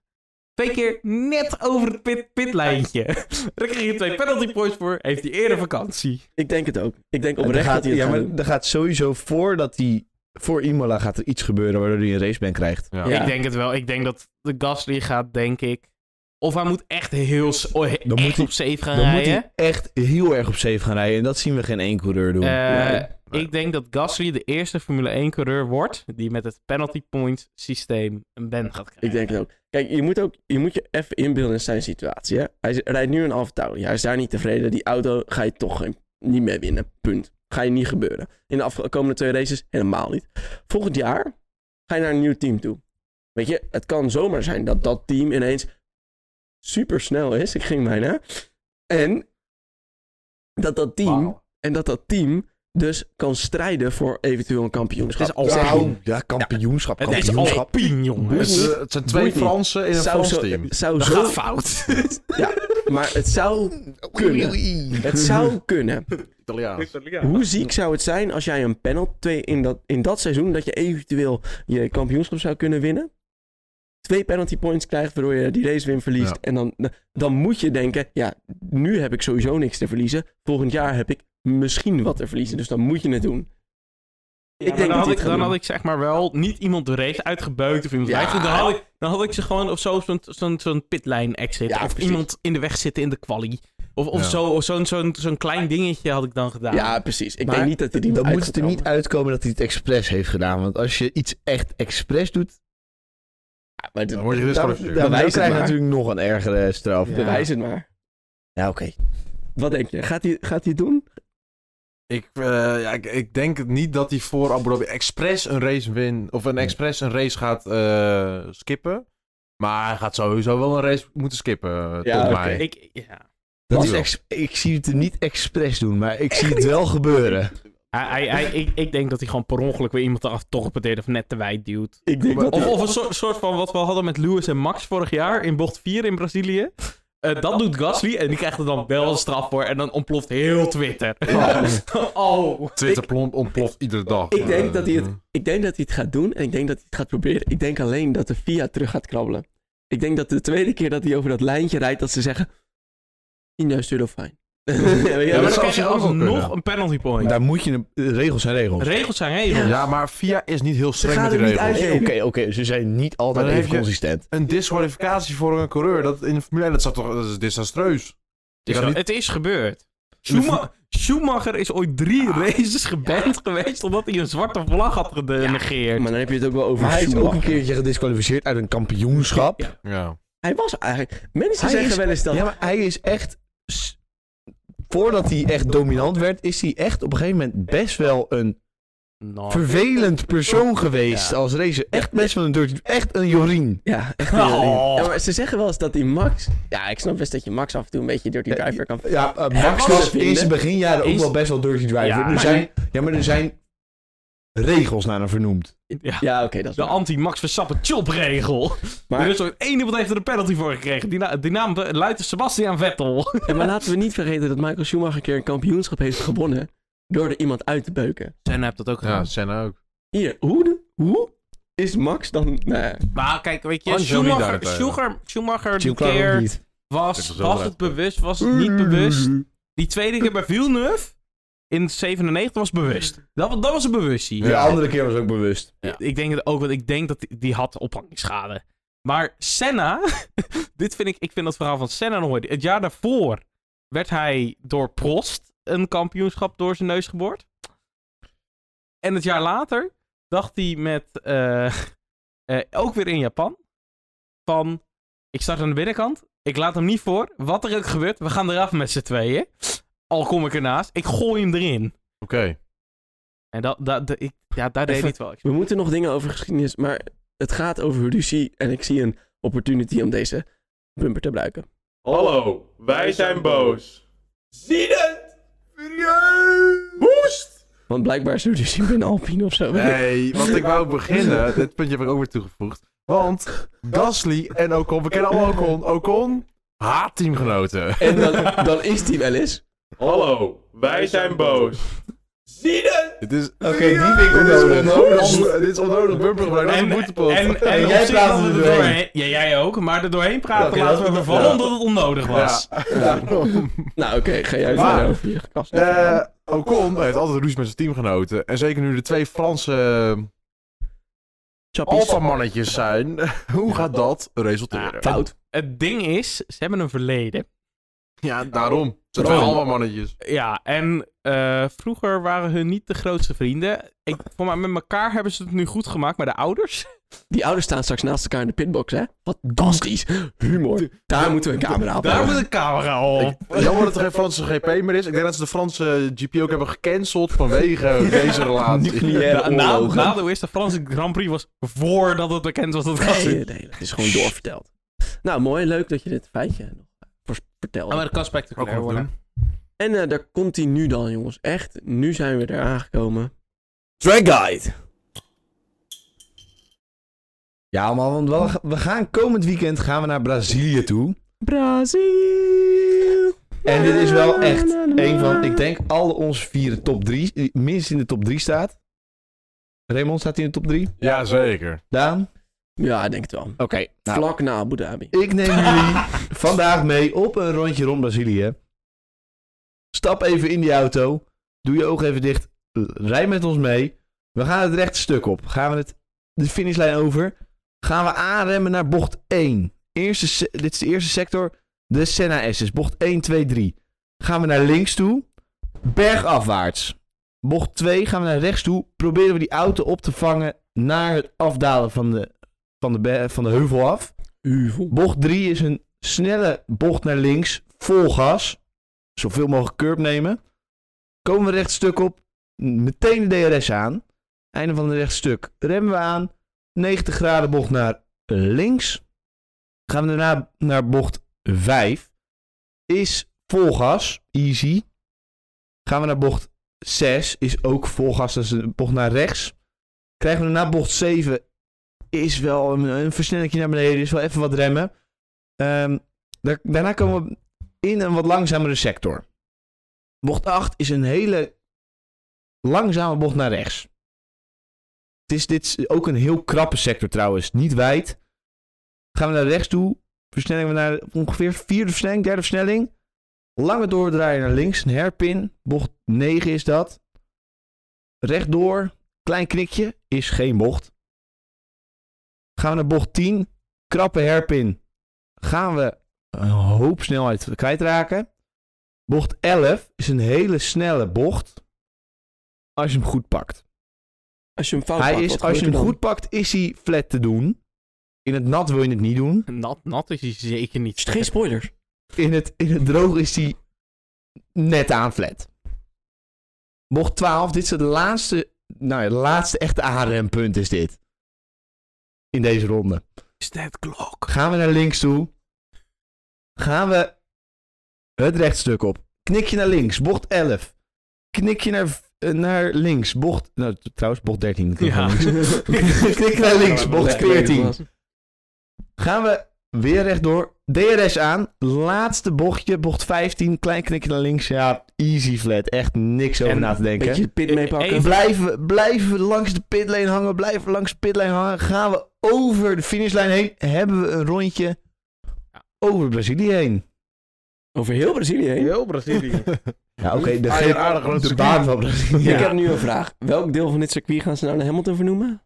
Speaker 4: Twee keer net over het pit, pitlijntje. [LAUGHS] Daar kreeg je twee penalty points voor, heeft hij eerder vakantie.
Speaker 1: Ik denk het ook. Ik denk
Speaker 3: Er
Speaker 1: oprecht
Speaker 3: gaat,
Speaker 1: dat hij het
Speaker 3: ja,
Speaker 1: gaat
Speaker 3: maar
Speaker 1: doen.
Speaker 3: er gaat sowieso voordat hij voor Imola gaat er iets gebeuren waardoor hij een racebank krijgt.
Speaker 2: Ja.
Speaker 1: Ja.
Speaker 4: Ik denk het wel. Ik denk dat de Gasly gaat, denk ik. Of hij moet echt heel s- oh, he-
Speaker 3: Dan
Speaker 4: echt
Speaker 3: moet hij-
Speaker 4: op safe gaan
Speaker 3: Dan moet
Speaker 4: rijden.
Speaker 3: hij echt heel erg op safe gaan rijden. En dat zien we geen één coureur doen.
Speaker 4: Eh,
Speaker 1: Nee,
Speaker 2: nee.
Speaker 4: Ik denk dat Gasly de eerste Formule 1-coureur wordt die met het penalty point systeem een ban gaat krijgen.
Speaker 1: Ik denk het ook. Kijk, je moet, ook, je moet je even inbeelden in zijn situatie. Hè? Hij z- rijdt nu een Alfa-Tauri. Hij is daar niet tevreden. Die auto ga je toch geen- niet meer winnen. Punt. Ga je niet gebeuren. In de afkomende twee races helemaal niet. Volgend jaar ga je naar een nieuw team toe. Weet je, het kan zomaar zijn dat dat team ineens supersnel is. Ik ging bijna. En dat dat team,
Speaker 2: Wauw.
Speaker 1: en dat dat team dus kan strijden voor eventueel een kampioenschap. Dus
Speaker 4: Het is al-
Speaker 1: Zeg
Speaker 4: Nou,
Speaker 1: niet.
Speaker 3: ja, kampioenschap,
Speaker 4: Het is al pien,
Speaker 2: Het,
Speaker 4: jongens.
Speaker 1: Boeit
Speaker 2: eh, het zijn twee
Speaker 1: Boeit niet.
Speaker 2: Fransen in een
Speaker 1: zou
Speaker 2: Frans
Speaker 1: zo,
Speaker 2: team.
Speaker 1: zou
Speaker 4: Dat
Speaker 1: zo [LAUGHS]
Speaker 4: gaat fout.
Speaker 1: Maar het
Speaker 4: [LAUGHS]
Speaker 1: zou kunnen. Het zou kunnen.
Speaker 2: Italiaans.
Speaker 1: Hoe ziek zou het zijn als jij een penalty in dat, in dat seizoen dat je eventueel je kampioenschap zou kunnen winnen? Twee penalty points krijgt waardoor je die race win verliest.
Speaker 2: Ja.
Speaker 1: En dan, dan moet je denken, ja, nu heb ik sowieso niks te verliezen. Volgend jaar heb ik misschien wat te verliezen. Dus dan moet je het doen. ik denk
Speaker 4: dan
Speaker 1: dat
Speaker 4: had
Speaker 1: dit
Speaker 4: ik,
Speaker 1: gaat
Speaker 4: dan
Speaker 1: doen.
Speaker 4: had ik zeg maar wel niet iemand de race uitgebeukt of iemand
Speaker 1: Ja.
Speaker 4: eigenlijk. Dan, had ik, dan had ik ze gewoon of zo op zo'n zo'n zo'n pitlijn exit.
Speaker 1: Ja,
Speaker 4: of
Speaker 1: precies.
Speaker 4: iemand in de weg zitten in de quali. Of, of
Speaker 2: Ja.
Speaker 4: zo- of zo'n zo'n zo'n klein dingetje had ik dan gedaan.
Speaker 1: Ja, precies. Ik
Speaker 3: Maar
Speaker 1: denk niet dat hij die
Speaker 3: Dan
Speaker 1: uit
Speaker 3: moet het er
Speaker 1: gaat
Speaker 3: niet
Speaker 1: komen.
Speaker 3: uitkomen dat hij het expres heeft gedaan. Want als je iets echt expres doet,
Speaker 1: Ja, maar
Speaker 2: Dan
Speaker 1: dat-
Speaker 2: word je dus
Speaker 3: dan,
Speaker 2: gewoon
Speaker 3: dan,
Speaker 2: een
Speaker 1: bewijs het
Speaker 3: krijg je
Speaker 1: maar.
Speaker 3: natuurlijk nog een ergere straf.
Speaker 4: Ja.
Speaker 1: Bewijs het maar.
Speaker 3: Ja, oké.
Speaker 1: Wat denk je? Gaat hij, gaat hij het doen?
Speaker 2: Ik, eh, ja, ik, ik denk niet dat hij voor Abu Dhabi expres een race win of een expres een race gaat eh, skippen. Maar hij gaat sowieso wel een race moeten skippen, eh,
Speaker 1: Ja,
Speaker 2: tot
Speaker 1: oké.
Speaker 2: mij.
Speaker 4: Ik, ja.
Speaker 3: Dat
Speaker 2: Mag
Speaker 3: is
Speaker 2: wel.
Speaker 3: ex- ik zie het er niet expres doen, maar ik zie het wel gebeuren.
Speaker 4: Hij- hij- hij- ik, ik denk dat hij gewoon per ongeluk weer iemand eraf toch peteert of net te wijd duwt.
Speaker 1: Ik denk dat
Speaker 4: Of, of een soort, soort van wat we hadden met Lewis en Max vorig jaar in bocht 4 in Brazilië. Eh, dat doet Gasly en die krijgt er dan wel een straf voor. En dan ontploft heel Twitter. oh.
Speaker 2: Twitter plom- ontploft iedere dag.
Speaker 1: Ik denk, dat hij het,
Speaker 2: Eh,
Speaker 1: ik denk dat hij het gaat doen en ik denk dat hij het gaat proberen. Ik denk alleen dat de FIA terug gaat krabbelen. Ik denk dat de tweede keer dat hij over dat lijntje rijdt, dat ze zeggen... 10.000 euro fijn. [LAUGHS] ja, maar
Speaker 4: Ja, maar
Speaker 2: dat
Speaker 4: dan
Speaker 1: dat-
Speaker 2: zou
Speaker 4: krijg
Speaker 2: ze
Speaker 4: je
Speaker 2: ook wel
Speaker 4: alsnog
Speaker 2: kunnen.
Speaker 4: een penalty point.
Speaker 3: Daar moet je... een- Regels zijn regels.
Speaker 4: Regels zijn regels.
Speaker 2: Ja, maar FIA is niet heel streng
Speaker 1: gaan
Speaker 2: met die
Speaker 1: er niet
Speaker 2: regels.
Speaker 1: uit.
Speaker 3: Nee, Oké, oké. ze zijn niet altijd
Speaker 2: Maar dan
Speaker 3: even
Speaker 2: heb je-
Speaker 3: consistent.
Speaker 2: Een disqualificatie voor een coureur dat in de Formule 1, dat, zou toch, dat is desastreus. Je
Speaker 4: Het
Speaker 2: kan
Speaker 4: is-
Speaker 2: niet-
Speaker 4: Het is gebeurd.
Speaker 2: de
Speaker 4: Schuma- Schumacher is ooit drie races geband geweest omdat hij een zwarte vlag had genegeerd.
Speaker 1: Maar dan heb je het ook wel over
Speaker 3: Maar hij is ook
Speaker 1: Schumacher.
Speaker 3: een keertje gedisqualificeerd uit een kampioenschap.
Speaker 4: Ja.
Speaker 2: Ja.
Speaker 1: Hij was eigenlijk... Mensen
Speaker 3: Hij
Speaker 1: zeggen
Speaker 3: is-
Speaker 1: wel eens dat...
Speaker 3: Ja, maar hij is echt s- voordat hij echt dominant werd, is hij echt op een gegeven moment best wel een
Speaker 2: Nou.
Speaker 3: vervelend persoon geweest
Speaker 4: Oh, Ja.
Speaker 3: als racer. Echt best wel een dirty, echt een Jorien.
Speaker 1: Ja, echt.
Speaker 4: Oh.
Speaker 1: heel- Ja, maar ze zeggen wel eens dat die Max... Ja, ik snap best dat je Max af en toe een beetje dirty
Speaker 3: Ja,
Speaker 1: driver kan...
Speaker 3: Ja, eh,
Speaker 1: Hij
Speaker 3: Max
Speaker 1: was
Speaker 3: was
Speaker 1: te
Speaker 3: in zijn
Speaker 1: vinden.
Speaker 3: beginjaren ook
Speaker 4: Is-
Speaker 3: wel best wel dirty driver.
Speaker 4: Ja,
Speaker 3: er
Speaker 4: maar-
Speaker 3: zijn, ja, maar er zijn regels naar hem vernoemd.
Speaker 4: Ja.
Speaker 1: Ja, oké, dat is
Speaker 4: De
Speaker 1: waar.
Speaker 4: anti-Max Verstappen chopregel.
Speaker 1: Maar-
Speaker 4: Er is ooit één iemand heeft er een penalty voor gekregen. Die, na- die naam be- luidt Sebastian Vettel.
Speaker 1: Ja, maar laten we niet vergeten dat Michael Schumacher een keer een kampioenschap heeft gewonnen... door er iemand uit te beuken.
Speaker 4: Senna heeft dat ook
Speaker 2: Ja, Senna ook.
Speaker 1: Hier, hoe, de- hoe is Max dan... Nou, ja,
Speaker 4: Maar kijk, weet je,
Speaker 2: Angelo niet
Speaker 4: Schumacher,
Speaker 2: daarentegen.
Speaker 4: Schumacher, Schumacher die
Speaker 3: Chill Clark ook
Speaker 4: keer
Speaker 3: niet.
Speaker 4: was,
Speaker 2: Het was wel
Speaker 4: was
Speaker 2: leuk.
Speaker 4: het bewust, was het niet bewust. Die tweede keer bij Villeneuve in 97 was bewust. Dat, wa- dat was een bewustzijn.
Speaker 3: De andere keer was ook bewust.
Speaker 4: Ik denk dat ook, want ik denk dat die, die had ophangingsschade. Maar Senna, [LAUGHS] dit vind ik, ik vind dat verhaal van Senna nog mooi. Het jaar daarvoor werd hij door Prost een kampioenschap door zijn neus geboord. En het jaar later dacht hij met, eh, [LAUGHS] eh, ook weer in Japan, van ik start aan de binnenkant, ik laat hem niet voor, wat er ook gebeurt, we gaan eraf met z'n tweeën. Al kom ik ernaast, ik gooi hem erin.
Speaker 2: Oké.
Speaker 4: En dat, dat, dat- ik, ja, daar deed hij het wel.
Speaker 1: We moeten nog dingen over geschiedenis, maar het gaat over ruzie en ik zie een opportunity om deze bumper te gebruiken.
Speaker 5: Hallo, wij zijn boos. Zie het!
Speaker 1: Want blijkbaar is er ruzie binnen Alpine of zo.
Speaker 2: Nee, want ik [LAUGHS] wou beginnen. Dit puntje heb ik ook weer toegevoegd. Want Gasly en Ocon, we kennen allemaal Ocon. Ocon, haatteamgenoten.
Speaker 1: En dan, dan is die wel eens.
Speaker 5: Hallo, wij zijn boos. Zie het!
Speaker 2: Dit is,
Speaker 3: Oké, die vind ik
Speaker 2: dit is
Speaker 3: onnodig.
Speaker 2: onnodig. Dit is onnodig bumpergebruik. Dat is een boetepot. [LAUGHS]
Speaker 4: en, en
Speaker 3: En
Speaker 4: op
Speaker 3: jij
Speaker 4: zich
Speaker 3: praat
Speaker 4: laten
Speaker 3: er
Speaker 4: we er
Speaker 3: doorheen.
Speaker 4: doorheen. Ja, jij ook, maar er doorheen praten
Speaker 3: Oké,
Speaker 4: laten we
Speaker 3: dat-
Speaker 4: even vallen
Speaker 3: ja.
Speaker 4: omdat het onnodig was.
Speaker 1: Nou oké, ga jij
Speaker 2: Maar-
Speaker 1: verder over je kast.
Speaker 2: Eh, Ocon heeft altijd ruzie met zijn teamgenoten. En zeker nu de twee Franse
Speaker 1: Chappies.
Speaker 2: alfamannetjes zijn. [LAUGHS] Hoe gaat dat resulteren?
Speaker 1: Ah, Fout.
Speaker 4: Het ding is, ze hebben een verleden.
Speaker 2: Ja, daarom. Ze zijn
Speaker 1: Daarom.
Speaker 2: alfamannetjes.
Speaker 4: Ja, en eh, vroeger waren hun niet de grootste vrienden. Ik, voor mij, met elkaar hebben ze het nu goed gemaakt, maar de ouders.
Speaker 1: Die ouders staan straks naast elkaar in de pitbox, hè? Fantastisch. Humor. Daar moeten we een camera op
Speaker 4: Daar
Speaker 1: hebben.
Speaker 4: moet de camera op.
Speaker 2: Jammer dat er geen Franse GP meer is. Ik denk dat ze de Franse GP ook hebben gecanceld
Speaker 3: [LAUGHS]
Speaker 2: vanwege deze relatie.
Speaker 1: Nucleaire
Speaker 4: Na- na-
Speaker 1: oorlogen.
Speaker 4: Nadeel is, de Franse Grand Prix was voordat het bekend was dat het
Speaker 1: Nee,
Speaker 4: was.
Speaker 1: nee, nee, het is gewoon doorverteld. Nou, mooi. Leuk dat je dit feitje nog voor- vertelde.
Speaker 4: Maar dat kan spectaculair
Speaker 2: Ook nog
Speaker 4: worden.
Speaker 1: En eh, daar komt hij nu dan, jongens. Echt, nu zijn we er aangekomen. Track Guide.
Speaker 3: Ja man, want wel- we gaan komend weekend gaan we naar Brazilië toe.
Speaker 1: Brazil.
Speaker 3: En dit is wel echt een van, ik denk, alle onze vier top drie, eh, minstens in de top drie staat. Raymond staat hij in de top drie.
Speaker 2: Ja, zeker.
Speaker 3: Daan?
Speaker 1: Ja, ik denk het wel.
Speaker 3: Oké. nou,
Speaker 1: Vlak na Abu Dhabi.
Speaker 3: ik neem jullie [LAUGHS] vandaag mee op een rondje rond Brazilië. Stap even in die auto. Doe je ogen even dicht. eh, Rij met ons mee. We gaan het rechte stuk op. Gaan we het, de finishlijn over. Gaan we aanremmen naar bocht 1. Eerste, se- dit is de eerste sector. De Senna S is bocht 1, 2, 3. Gaan we naar links toe. Bergafwaarts. Bocht 2 gaan we naar rechts toe. Proberen we die auto op te vangen naar het afdalen van de, van de, be- van de heuvel af.
Speaker 1: Uvel.
Speaker 3: Bocht 3 is een snelle bocht naar links, vol gas. Zoveel mogelijk curb nemen. Komen we rechtstuk op, meteen de DRS aan. Einde van het rechtstuk remmen we aan. 90 graden bocht naar links. Gaan we daarna naar bocht 5. Is vol gas, easy. Gaan we naar bocht 6, is ook vol gas, dat is een bocht naar rechts. Krijgen we daarna bocht 7, is wel een, een versnellingje naar beneden. Is wel even wat remmen. Ehm, daar- daarna komen we in een wat langzamere sector. Bocht 8 is een hele langzame bocht naar rechts. Het is, dit is ook een heel krappe sector trouwens. Niet wijd. Gaan we naar rechts toe. Versnelling we naar ongeveer vierde versnelling, derde versnelling. Lange doordraaien naar links. Een herpin. Bocht 9 is dat. Rechtdoor. Klein knikje. Is geen bocht. Gaan we naar bocht 10. Krappe herpin. Gaan we een hoop snelheid kwijtraken. Bocht 11 is een hele snelle bocht. Als je hem goed pakt.
Speaker 1: Als je hem fout
Speaker 3: Hij
Speaker 1: maakt,
Speaker 3: is,
Speaker 1: Oh, wat
Speaker 3: als je hem
Speaker 1: gebeurt er
Speaker 3: goed pakt, is hij flat te doen. In het nat wil je het niet doen.
Speaker 4: Nat, nat is hij zeker
Speaker 1: dan?
Speaker 4: niet.
Speaker 1: Sst, Geen spoilers.
Speaker 3: In het, in het droog is hij net aan flat. Bocht 12, dit is het laatste, nou ja, de laatste echte aanrempunt is dit. In deze ronde.
Speaker 4: Is dat klok?
Speaker 3: Gaan we naar links toe. Gaan we het rechtstuk op. Knik je naar links, bocht 11. Knik je naar, eh, naar links, bocht... Nou, t- trouwens, bocht 13. dat klinkt
Speaker 4: Ja. [LAUGHS]
Speaker 3: wel links. [LAUGHS] Knik naar links, bocht
Speaker 1: Lekker,
Speaker 3: 14.
Speaker 1: was.
Speaker 3: Gaan we weer rechtdoor. DRS aan. Laatste bochtje, bocht 15. Klein knikje naar links. Ja, easy flat. Echt niks over
Speaker 4: En
Speaker 3: na te denken.
Speaker 1: Beetje pit mee pakken.
Speaker 4: Even-
Speaker 3: Blijven, we- blijven we langs de pitlane hangen. Blijven we langs de pitlane hangen. Gaan we over de finishlijn heen. Hebben we een rondje over Brazilië heen.
Speaker 1: Over heel Brazilië heen.
Speaker 4: Heel Brazilië.
Speaker 3: Ja, oké. de,
Speaker 2: Ah, ja,
Speaker 3: ge-
Speaker 2: aardig groot
Speaker 3: de
Speaker 2: circuit.
Speaker 3: baan van Brazilië.
Speaker 1: Ik heb nu een vraag. Welk deel van dit circuit gaan ze nou naar Hamilton vernoemen?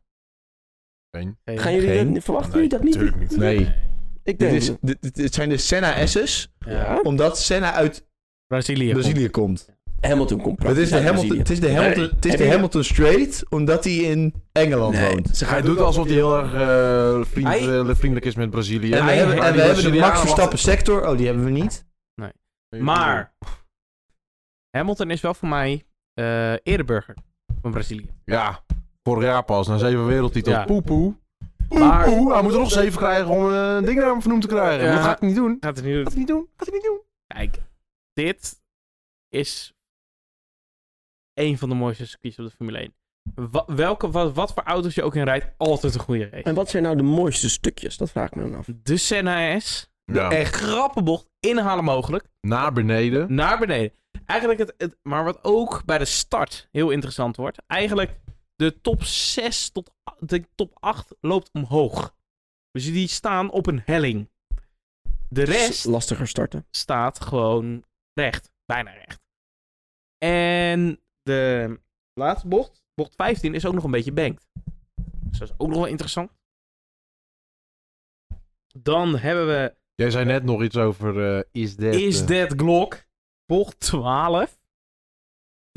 Speaker 1: Gaan jullie
Speaker 3: Geen.
Speaker 1: dat, verwachten jullie dat niet?
Speaker 2: Natuurlijk niet.
Speaker 3: Nee.
Speaker 1: Ik
Speaker 3: Dit,
Speaker 1: denk...
Speaker 3: is, dit, dit- dit zijn de Senna S's.
Speaker 1: ja.
Speaker 3: Omdat Senna uit
Speaker 4: Brazilië.
Speaker 3: Brazilië komt.
Speaker 1: Hamilton komt
Speaker 3: Het
Speaker 1: praktisch
Speaker 3: is, de
Speaker 1: uit
Speaker 3: Hamilton,
Speaker 1: Brazilië.
Speaker 3: het is de Hamilton,
Speaker 1: Nee,
Speaker 3: het is
Speaker 1: heb
Speaker 3: de
Speaker 1: je-
Speaker 3: Hamilton Straight, omdat hij in Engeland
Speaker 1: Nee,
Speaker 3: woont.
Speaker 1: ze gaan
Speaker 2: Hij doet alsof hij heel erg eh, vriend-
Speaker 4: Hij-
Speaker 2: eh, vriendelijk is met Brazilië.
Speaker 3: en we
Speaker 4: hij-
Speaker 3: hebben,
Speaker 4: hij-
Speaker 3: en we
Speaker 4: hij-
Speaker 3: hebben de Max Verstappen sector. Oh, die hebben we niet.
Speaker 4: Maar Hamilton is wel voor mij eh ereburger van Brazilië.
Speaker 2: Ja, vorig jaar pas. Na zeven wereldtitels.
Speaker 4: Ja.
Speaker 2: Poe, poe. Poe,
Speaker 4: Maar-
Speaker 2: poe. Hij moet er nog zeven krijgen om eh, een ding naar hem vernoemd te krijgen.
Speaker 4: Ja.
Speaker 2: Dat gaat hij niet doen.
Speaker 4: Gaat het nu
Speaker 2: Gaat hij niet doen. Gaat hij niet doen.
Speaker 4: Kijk, dit is een van de mooiste circuits op de Formule 1. Wa- welke, wat, wat voor auto's je ook in rijdt, altijd een goede race.
Speaker 1: En wat zijn nou de mooiste stukjes? Dat vraag ik me dan af.
Speaker 4: De Senna S,
Speaker 2: Ja.
Speaker 3: Echt.
Speaker 4: krappe bocht, inhalen mogelijk,
Speaker 2: Naar beneden.
Speaker 4: naar beneden. Eigenlijk het, het, maar wat ook bij de start heel interessant wordt, eigenlijk de top 6 tot a- de top 8 loopt omhoog. Dus die staan op een helling. De rest
Speaker 1: Lastiger starten.
Speaker 4: staat gewoon recht. Bijna recht. En de laatste bocht, bocht 15, is ook nog een beetje banked. Dus dat is ook nog wel interessant. Dan hebben we
Speaker 2: Jij zei net nog iets over eh, is dit.
Speaker 4: Is
Speaker 2: eh,
Speaker 4: That Glock, bocht 12.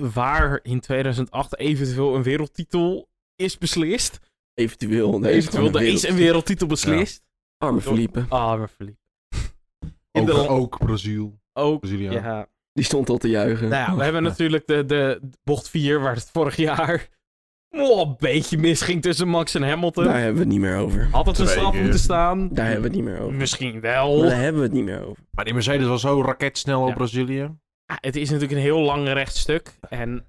Speaker 4: Waar in 2008 eventueel een wereldtitel is beslist.
Speaker 1: Eventueel. nee,
Speaker 4: Eventueel,
Speaker 1: gewoon
Speaker 4: er
Speaker 1: een
Speaker 4: is een wereldtitel beslist.
Speaker 1: Arme Felipe.
Speaker 4: Ah, we verliezen. [LAUGHS] In
Speaker 2: ook,
Speaker 4: de land-
Speaker 2: ook Brazil.
Speaker 4: ook.
Speaker 2: Braziliaan.
Speaker 4: Ja,
Speaker 1: Die stond al te juichen.
Speaker 4: Nou ja, we hebben natuurlijk de, de de bocht 4, waar het vorig jaar oh, een beetje misging tussen Max en Hamilton.
Speaker 1: Daar hebben we het niet meer over.
Speaker 4: Had het een
Speaker 2: Twee
Speaker 4: straf
Speaker 2: keer.
Speaker 4: moeten staan?
Speaker 1: Daar hebben we het niet meer over.
Speaker 4: Misschien
Speaker 1: Maar
Speaker 4: wel.
Speaker 1: daar hebben we het niet meer over.
Speaker 2: Maar die Mercedes was zo raketsnel op
Speaker 4: Ja.
Speaker 2: Brazilië.
Speaker 4: Ah, het is natuurlijk een heel lang rechtstuk. En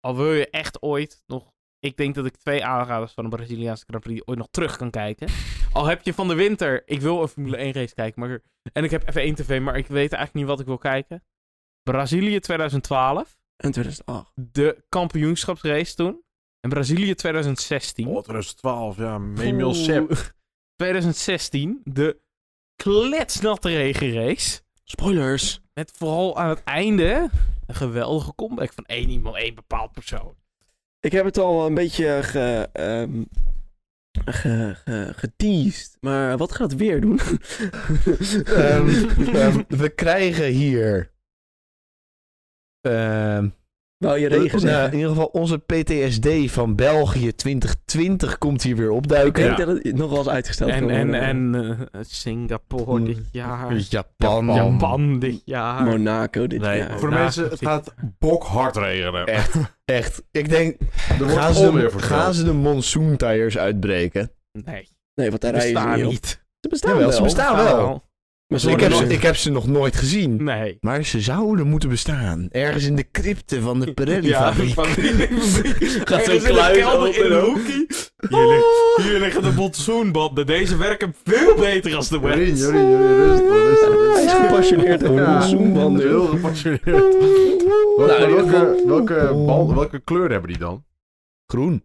Speaker 4: al wil je echt ooit nog... Ik denk dat ik twee aanraders van de Braziliaanse Grand Prix ooit nog terug kan kijken. Al heb je van de winter... Ik wil een Formule 1 race kijken, maar... En ik heb F1 TV, maar ik weet eigenlijk niet wat ik wil kijken. Brazilië 2012.
Speaker 1: En 2008.
Speaker 4: De kampioenschapsrace toen. En Brazilië 2016.
Speaker 2: Oh, 2012, ja. Memel
Speaker 4: Oeh.
Speaker 2: Sepp.
Speaker 4: 2016, de kletsnatte regenrace.
Speaker 1: Spoilers.
Speaker 4: Met vooral aan het einde een geweldige comeback van één iemand, één bepaald persoon.
Speaker 1: Ik heb het al een beetje ge, ehm, ge, ge- geteased. Maar wat gaat het weer doen? [LAUGHS]
Speaker 3: Ehm, ehm, we krijgen hier... ehm,
Speaker 1: Wou je regen
Speaker 3: nou, in
Speaker 1: zeggen?
Speaker 3: ieder geval onze PTSD van België 2020 komt hier weer opduiken.
Speaker 1: Ik denk dat het nog wel eens uitgesteld
Speaker 4: En,
Speaker 1: kan
Speaker 4: en,
Speaker 1: worden.
Speaker 4: en eh, Singapore
Speaker 3: Hmm.
Speaker 4: dit jaar.
Speaker 3: Japan.
Speaker 4: Japan dit jaar.
Speaker 1: Monaco dit
Speaker 2: Nee,
Speaker 1: jaar.
Speaker 2: voor de
Speaker 4: Nou,
Speaker 2: mensen, het
Speaker 4: precies.
Speaker 2: gaat bokhard regenen.
Speaker 3: Echt, echt. Ik denk,
Speaker 2: Er wordt
Speaker 3: gaan ze,
Speaker 2: alweer
Speaker 3: de,
Speaker 2: voorspeld.
Speaker 3: gaan ze de monsoon tires uitbreken?
Speaker 4: Nee,
Speaker 1: Nee, want daar
Speaker 4: die
Speaker 1: rijden
Speaker 4: bestaan
Speaker 1: ze niet. op.
Speaker 4: niet.
Speaker 1: Ze bestaan
Speaker 3: Jawel,
Speaker 1: wel.
Speaker 3: ze bestaan. Ah, wel.
Speaker 1: Maar ze
Speaker 3: Ik
Speaker 1: worden
Speaker 3: heb, ze,
Speaker 1: nooit-
Speaker 3: ik heb ze nog nooit gezien.
Speaker 4: Nee.
Speaker 3: Maar ze zouden moeten bestaan. Ergens in de crypte van
Speaker 4: [LAUGHS]
Speaker 3: de
Speaker 4: Ja,
Speaker 3: Pirelli-fabriek.
Speaker 4: van
Speaker 1: [LAUGHS]
Speaker 3: [LAUGHS]
Speaker 4: die
Speaker 1: Gaat zo'n
Speaker 4: Ergens in de
Speaker 1: kluis
Speaker 4: kelder
Speaker 1: open
Speaker 4: in
Speaker 1: en
Speaker 4: een
Speaker 1: open.
Speaker 4: hoekie. Hier, ligt, hier liggen de
Speaker 1: [LAUGHS]
Speaker 4: botsoenbanden. Deze werken veel beter als de
Speaker 2: Jorin,
Speaker 4: Wets.
Speaker 2: Jorin, Jorin, rustig, rustig, rustig.
Speaker 1: Hij is gepassioneerd over
Speaker 2: Ja,
Speaker 1: monsoonbanden.
Speaker 2: Heel gepassioneerd. Wel-
Speaker 1: Nou, in ieder
Speaker 2: welke,
Speaker 1: geval-
Speaker 3: Oh.
Speaker 2: welke, band, welke kleur hebben die dan?
Speaker 3: Groen.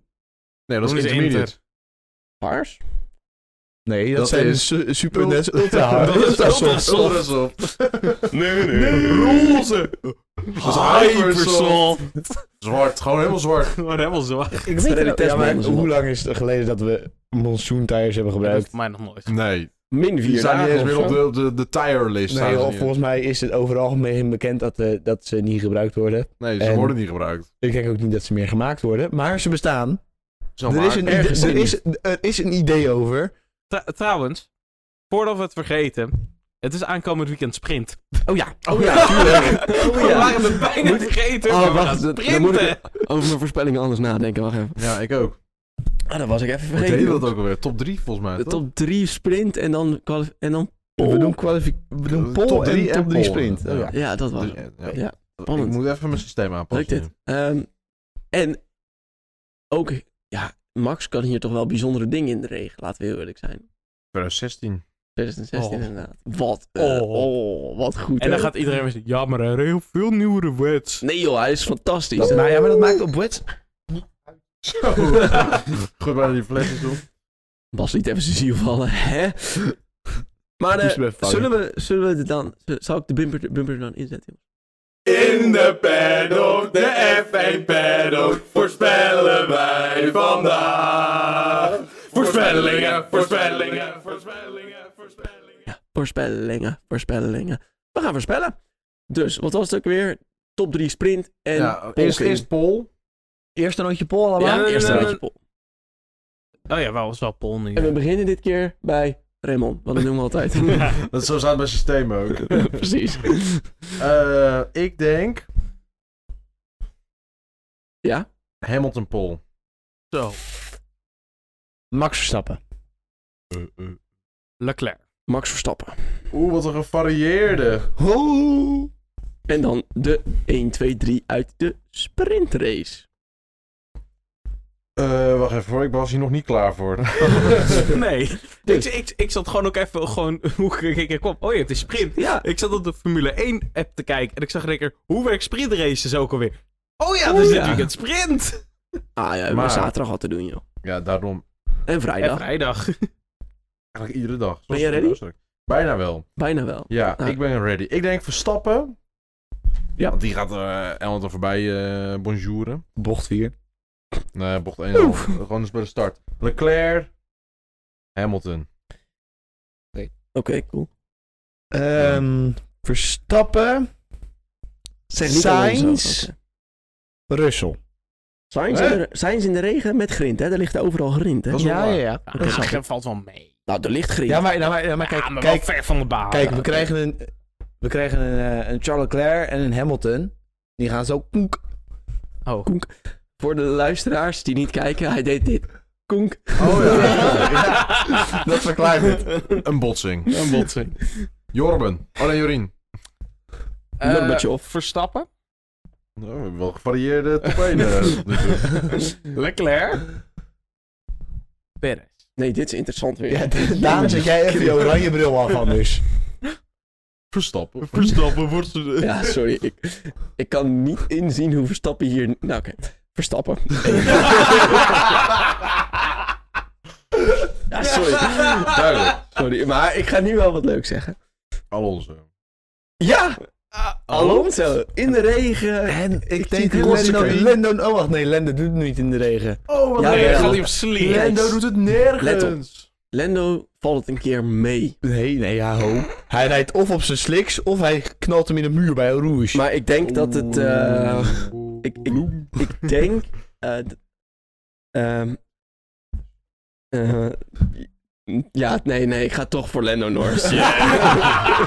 Speaker 2: Nee, dat
Speaker 4: Groen
Speaker 2: is
Speaker 4: is
Speaker 2: intermediate.
Speaker 1: Paars?
Speaker 3: Nee, dat,
Speaker 2: Dat
Speaker 3: zijn
Speaker 2: is-
Speaker 3: su- super net ultra
Speaker 4: Dat is
Speaker 3: ultra soft.
Speaker 4: ultrasoft.
Speaker 2: Ultra soft.
Speaker 5: Nee,
Speaker 4: Roze.
Speaker 2: Hypersoft. Zwart, gewoon helemaal zwart.
Speaker 4: Maar helemaal zwart.
Speaker 3: Ik
Speaker 1: weet het
Speaker 3: ja, maar
Speaker 1: niet.
Speaker 3: hoe lang is het geleden dat we monsoon tires hebben gebruikt?
Speaker 4: mij nog nooit.
Speaker 2: Nee,
Speaker 1: Min
Speaker 2: die
Speaker 1: vier
Speaker 2: staan niet
Speaker 1: dagen
Speaker 2: eens
Speaker 1: of
Speaker 2: meer op
Speaker 1: zo.
Speaker 2: de, de, de tire list. staan
Speaker 3: Nee,
Speaker 2: ze
Speaker 3: joh,
Speaker 2: niet in.
Speaker 3: volgens mij is het overal algemeen bekend dat, eh, dat ze niet gebruikt worden.
Speaker 2: nee ze
Speaker 3: en-
Speaker 2: worden niet gebruikt.
Speaker 3: Ik denk ook niet dat ze meer gemaakt worden, maar ze bestaan.
Speaker 2: Zo
Speaker 3: Er is, een,
Speaker 2: maar.
Speaker 1: ergens
Speaker 3: er,
Speaker 1: in.
Speaker 3: is, er is een idee over.
Speaker 4: trouwens, voordat we het vergeten. Het is aankomend weekend sprint. Oh ja.
Speaker 1: Oh ja,
Speaker 3: [LAUGHS]
Speaker 1: tuurlijk.
Speaker 3: Oh
Speaker 4: We waren het bijna
Speaker 1: Moet-
Speaker 4: vergeten.
Speaker 1: Oh,
Speaker 4: We
Speaker 1: wacht.
Speaker 4: gaan
Speaker 1: Dan, dan moet
Speaker 4: sprinten.
Speaker 1: ik over mijn voorspellingen anders nadenken. Wacht even.
Speaker 2: Ja, ik ook.
Speaker 1: Ah, dat was ik even
Speaker 2: Ik deed
Speaker 1: vergeten.
Speaker 2: dat ook alweer. Top 3 volgens mij.
Speaker 1: De
Speaker 2: toch?
Speaker 1: top 3 sprint en dan, kwalif- en dan
Speaker 3: We
Speaker 1: pole.
Speaker 3: doen, kwalific- we doen pole
Speaker 2: Top drie
Speaker 3: en
Speaker 2: en
Speaker 3: top 3
Speaker 2: pole.
Speaker 3: sprint.
Speaker 2: Ja.
Speaker 3: Oh, ja.
Speaker 1: Ja, dat was
Speaker 2: Dus,
Speaker 1: het.
Speaker 2: ja.
Speaker 1: Ja,
Speaker 2: Ik
Speaker 1: spannend.
Speaker 2: moet even mijn systeem
Speaker 1: Leuk
Speaker 2: aanpassen.
Speaker 1: dit. Ehm, en ook, ja, Max kan hier toch wel bijzondere dingen in de regen, laten we heel eerlijk zijn.
Speaker 2: 2016.
Speaker 1: 2016
Speaker 4: Oh.
Speaker 1: inderdaad. Wat, eh,
Speaker 4: Oh.
Speaker 1: oh. wat goed.
Speaker 4: En dan
Speaker 1: hè?
Speaker 4: gaat iedereen weer zeggen, ja, maar er zijn heel veel nieuwere wets.
Speaker 1: Nee joh, hij is fantastisch.
Speaker 3: Dat, nou ja, maar dat maakt op wets.
Speaker 2: Zo. Goed bij die flesjes op.
Speaker 1: Bas liet even zijn ziel vallen, hè? Maar eh,
Speaker 3: Moest hem even vangen.
Speaker 1: zullen we, zullen we er dan, zal ik de bumper, de bumper er dan inzetten?
Speaker 5: In de paddock, de F1 paddock, voorspellen wij vandaag. Voorspellingen, voorspellingen, voorspellingen, voorspellingen.
Speaker 1: Ja, voorspellingen, voorspellingen. We gaan voorspellen. Dus, wat was het ook weer? Top 3 sprint en
Speaker 2: Ja,
Speaker 1: pole
Speaker 2: eerst,
Speaker 1: king.
Speaker 2: eerst
Speaker 1: [LAUGHS]
Speaker 2: Pol.
Speaker 3: Eerst een rondje pole allemaal.
Speaker 4: Ja.
Speaker 1: Ja, eerst een
Speaker 4: eh,
Speaker 1: rondje pole.
Speaker 4: Oh ja, wel, is wel pol nu.
Speaker 1: En we beginnen dit keer bij Raymond, want dat doen we
Speaker 2: [LAUGHS]
Speaker 1: altijd.
Speaker 2: Dat zo staat mijn systeem ook.
Speaker 1: [LAUGHS] Precies.
Speaker 2: Eh, ik denk
Speaker 1: Ja?
Speaker 2: Hamilton Pol.
Speaker 4: Zo,
Speaker 3: Max Verstappen.
Speaker 2: Eh,
Speaker 4: Leclerc.
Speaker 1: Max Verstappen.
Speaker 2: Oeh, wat een gevarieerde.
Speaker 3: Ho!
Speaker 1: En dan de 1, 2, 3 uit de sprintrace.
Speaker 2: Eh, wacht even hoor, ik was hier nog niet klaar voor.
Speaker 4: Nee. [LAUGHS] Ik, ik, ik zat gewoon ook even, gewoon, [LAUGHS] hoe ik ik kwam. Oh ja, het is sprint.
Speaker 1: Ja,
Speaker 4: Ik zat op de Formule 1 app te kijken en ik zag in één keer, hoe werkt sprintraces ook alweer? Oh ja, dus
Speaker 1: Oh
Speaker 4: dit
Speaker 1: ja.
Speaker 4: weekend sprint!
Speaker 1: ah, ja we hebben
Speaker 2: Maar-
Speaker 1: zaterdag wat te doen, joh.
Speaker 2: [LAUGHS] Ja, daarom
Speaker 1: En
Speaker 4: En
Speaker 1: vrijdag.
Speaker 4: vrijdag.
Speaker 2: eigenlijk iedere dag.
Speaker 1: Ben je
Speaker 2: Zoals-
Speaker 1: ready?
Speaker 2: sorry. Bijna wel.
Speaker 1: Bijna wel.
Speaker 2: Ja,
Speaker 1: Ah.
Speaker 2: ik ben ready. Ik denk Verstappen.
Speaker 1: Ja.
Speaker 2: Want die gaat eh Hamilton voorbij eh bonjouren.
Speaker 3: Bocht 4.
Speaker 2: Nee, bocht 1. al. Gewoon eens bij de start. Leclerc. Hamilton.
Speaker 1: Oké, cool.
Speaker 3: Ehm Verstappen.
Speaker 1: Zeg niet
Speaker 3: Sainz.
Speaker 1: Alonso. Oké.
Speaker 3: Russell.
Speaker 1: Sainz,
Speaker 2: Hè?
Speaker 1: in de, Sainz in de regen met grind, hè? Er ligt overal grind, hè?
Speaker 2: Dat is wel waar.
Speaker 3: ja.
Speaker 4: Ja,
Speaker 1: dat snap
Speaker 4: valt wel mee.
Speaker 1: Nou, er ligt grind.
Speaker 3: Ja, maar, nou, maar, ja, maar
Speaker 4: Maar
Speaker 3: kijk,
Speaker 4: kijk, maar wel
Speaker 3: kijk,
Speaker 4: ver van de baan.
Speaker 3: kijk we krijgen, een, we krijgen een, eh, een Charles Leclerc en een Hamilton. Die gaan zo koek.
Speaker 4: Oh.
Speaker 1: Voor de luisteraars die niet kijken, hij deed dit. Konk.
Speaker 2: Oh [LAUGHS] ja.
Speaker 3: Dat verklaart het.
Speaker 2: een botsing.
Speaker 4: Een botsing.
Speaker 2: Jorben. Oh nee, Jorien.
Speaker 1: Gorbachev.
Speaker 4: Eh, Verstappen.
Speaker 2: Nou, we hebben wel gevarieerde top 1.
Speaker 4: [LAUGHS]
Speaker 2: eh, tot nu toe.
Speaker 4: Leclerc. Perez.
Speaker 1: Nee, dit is interessant [LAUGHS] weer.
Speaker 3: Ja, daarom zet jij even je oranje bril [LAUGHS] af anders.
Speaker 2: Verstappen.
Speaker 4: Verstappen wordt ze...
Speaker 1: Ja, sorry. Ik, ik kan niet inzien hoe Verstappen hier... Nou, oké. Verstappen. [LAUGHS] ja, sorry.
Speaker 2: Duidelijk.
Speaker 1: Sorry, maar ik ga nu wel wat leuks zeggen.
Speaker 2: Alonso.
Speaker 1: Ja! Alonso, in de regen.
Speaker 3: En ik
Speaker 1: zie
Speaker 3: denk
Speaker 1: de
Speaker 3: Lando,
Speaker 1: consequentie.
Speaker 3: Lando... Oh, wacht, nee, Lando doet het niet in de regen.
Speaker 2: Oh, wat
Speaker 1: Ja,
Speaker 4: Nee,
Speaker 1: wel.
Speaker 4: gaat hij op sleep.
Speaker 1: Ja.
Speaker 2: Lando doet het nergens.
Speaker 1: Let op. Lando valt het een keer mee.
Speaker 3: Nee, nee, ja, ho. Hij rijdt of op zijn sliks, of hij knalt hem in de muur bij Rouge.
Speaker 1: Maar ik denk dat het... eh, ik, ik, ik denk... eh, d- ehm, eh, ja, nee, nee. Ik ga toch voor Lando Norris.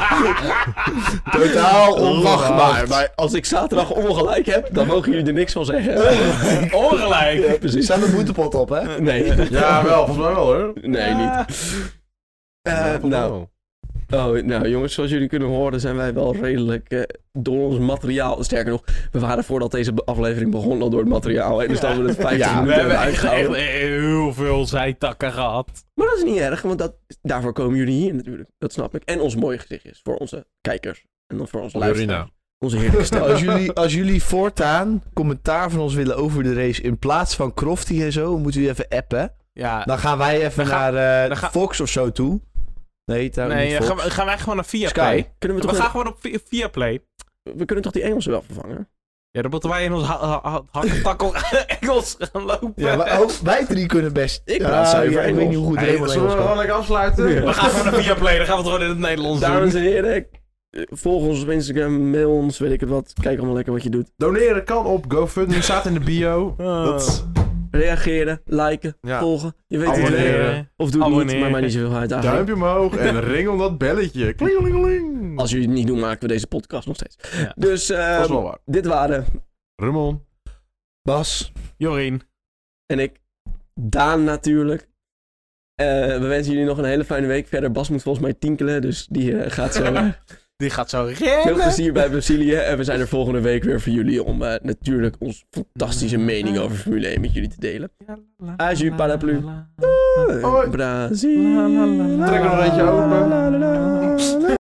Speaker 3: [LAUGHS] Totaal onwachtbaar.
Speaker 1: Maar [LAUGHS] als ik zaterdag ongelijk heb, dan mogen jullie er niks van zeggen.
Speaker 4: Ongelijk.
Speaker 1: Ja, precies.
Speaker 3: Staat de boetepot op, hè?
Speaker 1: Nee.
Speaker 2: Ja, wel. Volgens mij wel hoor.
Speaker 1: Nee, niet.
Speaker 2: Ja,
Speaker 1: Eh,
Speaker 2: volgens mij
Speaker 1: nou,
Speaker 2: wel.
Speaker 1: oh, nou, jongens, zoals jullie kunnen horen zijn wij wel redelijk eh, door ons materiaal. Sterker nog, we waren voordat deze be- aflevering begon al door het materiaal. En dus dat we het 50
Speaker 3: Ja,
Speaker 1: minuten
Speaker 4: We
Speaker 1: hebben
Speaker 4: hebben echt, echt
Speaker 1: uitgehouden.
Speaker 4: heel veel zijtakken gehad.
Speaker 1: Maar dat is niet erg, want dat, daarvoor komen jullie hier natuurlijk. Dat snap ik. En ons mooie gezicht is voor onze kijkers. En dan voor onze luisteraars.
Speaker 2: Jorina.
Speaker 1: Onze
Speaker 2: [LAUGHS]
Speaker 1: heerlijke stem.
Speaker 3: Als jullie, als jullie voortaan commentaar van ons willen over de race in plaats van Crofty en zo, moeten jullie even appen.
Speaker 4: Ja,
Speaker 3: Dan gaan wij even
Speaker 4: Dan ga-
Speaker 3: naar eh,
Speaker 4: dan ga-
Speaker 3: Fox of zo toe. Nee, daar
Speaker 4: nee,
Speaker 3: Nou, niet
Speaker 4: eh,
Speaker 3: Fox.
Speaker 4: gaan, we- gaan wij gewoon naar Via
Speaker 3: Sky.
Speaker 4: Play?
Speaker 1: Kunnen we,
Speaker 4: We
Speaker 1: toch
Speaker 4: gaan gewoon op via, via Play.
Speaker 1: we kunnen toch die Engelsen wel vervangen?
Speaker 4: Ja, dan moeten wij in ons ha- ha- ha- hakketakkel [LAUGHS] Engels gaan lopen.
Speaker 3: Ja, maar ook wij drie kunnen best.
Speaker 1: Ik praat zuiver
Speaker 3: ja, ik weet
Speaker 1: Engels.
Speaker 3: niet hoe goed
Speaker 2: Hey,
Speaker 3: Raymond
Speaker 2: zullen we
Speaker 3: Engels kan.
Speaker 2: gewoon lekker afsluiten?
Speaker 4: We gaan gewoon naar Via Play, dan gaan we het gewoon in het Nederlands
Speaker 1: Dames
Speaker 4: doen.
Speaker 1: en heren, eh, volg ons op Instagram, mail ons, weet ik het wat. Kijk allemaal lekker wat je doet.
Speaker 2: Doneren kan op GoFundMe, staat in de bio.
Speaker 4: Ah.
Speaker 2: Dat
Speaker 1: reageren, liken,
Speaker 2: Ja.
Speaker 1: volgen. Je weet het
Speaker 2: Abonneren.
Speaker 1: wel. Of doe het niet,
Speaker 4: Abonneren.
Speaker 1: maar maakt niet zoveel uit eigenlijk.
Speaker 2: Duimpje omhoog en ring om dat belletje. Klingelingeling.
Speaker 1: Als jullie het niet doen, maken we deze podcast nog steeds.
Speaker 4: Ja.
Speaker 1: Dus ehm,
Speaker 2: Dat is wel waar.
Speaker 1: dit waren
Speaker 2: Rummel.
Speaker 3: Bas,
Speaker 4: Jorien.
Speaker 1: en ik, Daan natuurlijk. Eh, we wensen jullie nog een hele fijne week verder. Bas moet volgens mij tinkelen, dus die eh, gaat zo.
Speaker 4: Die gaat zo
Speaker 1: Veel
Speaker 4: rennen.
Speaker 1: plezier bij Brazilië. En we zijn er volgende week weer voor jullie om eh, natuurlijk onze fantastische mening over Formule 1 met jullie te delen. Aju paraplu.
Speaker 2: Hoi.
Speaker 1: Brazilië.
Speaker 2: Trek nog eentje open.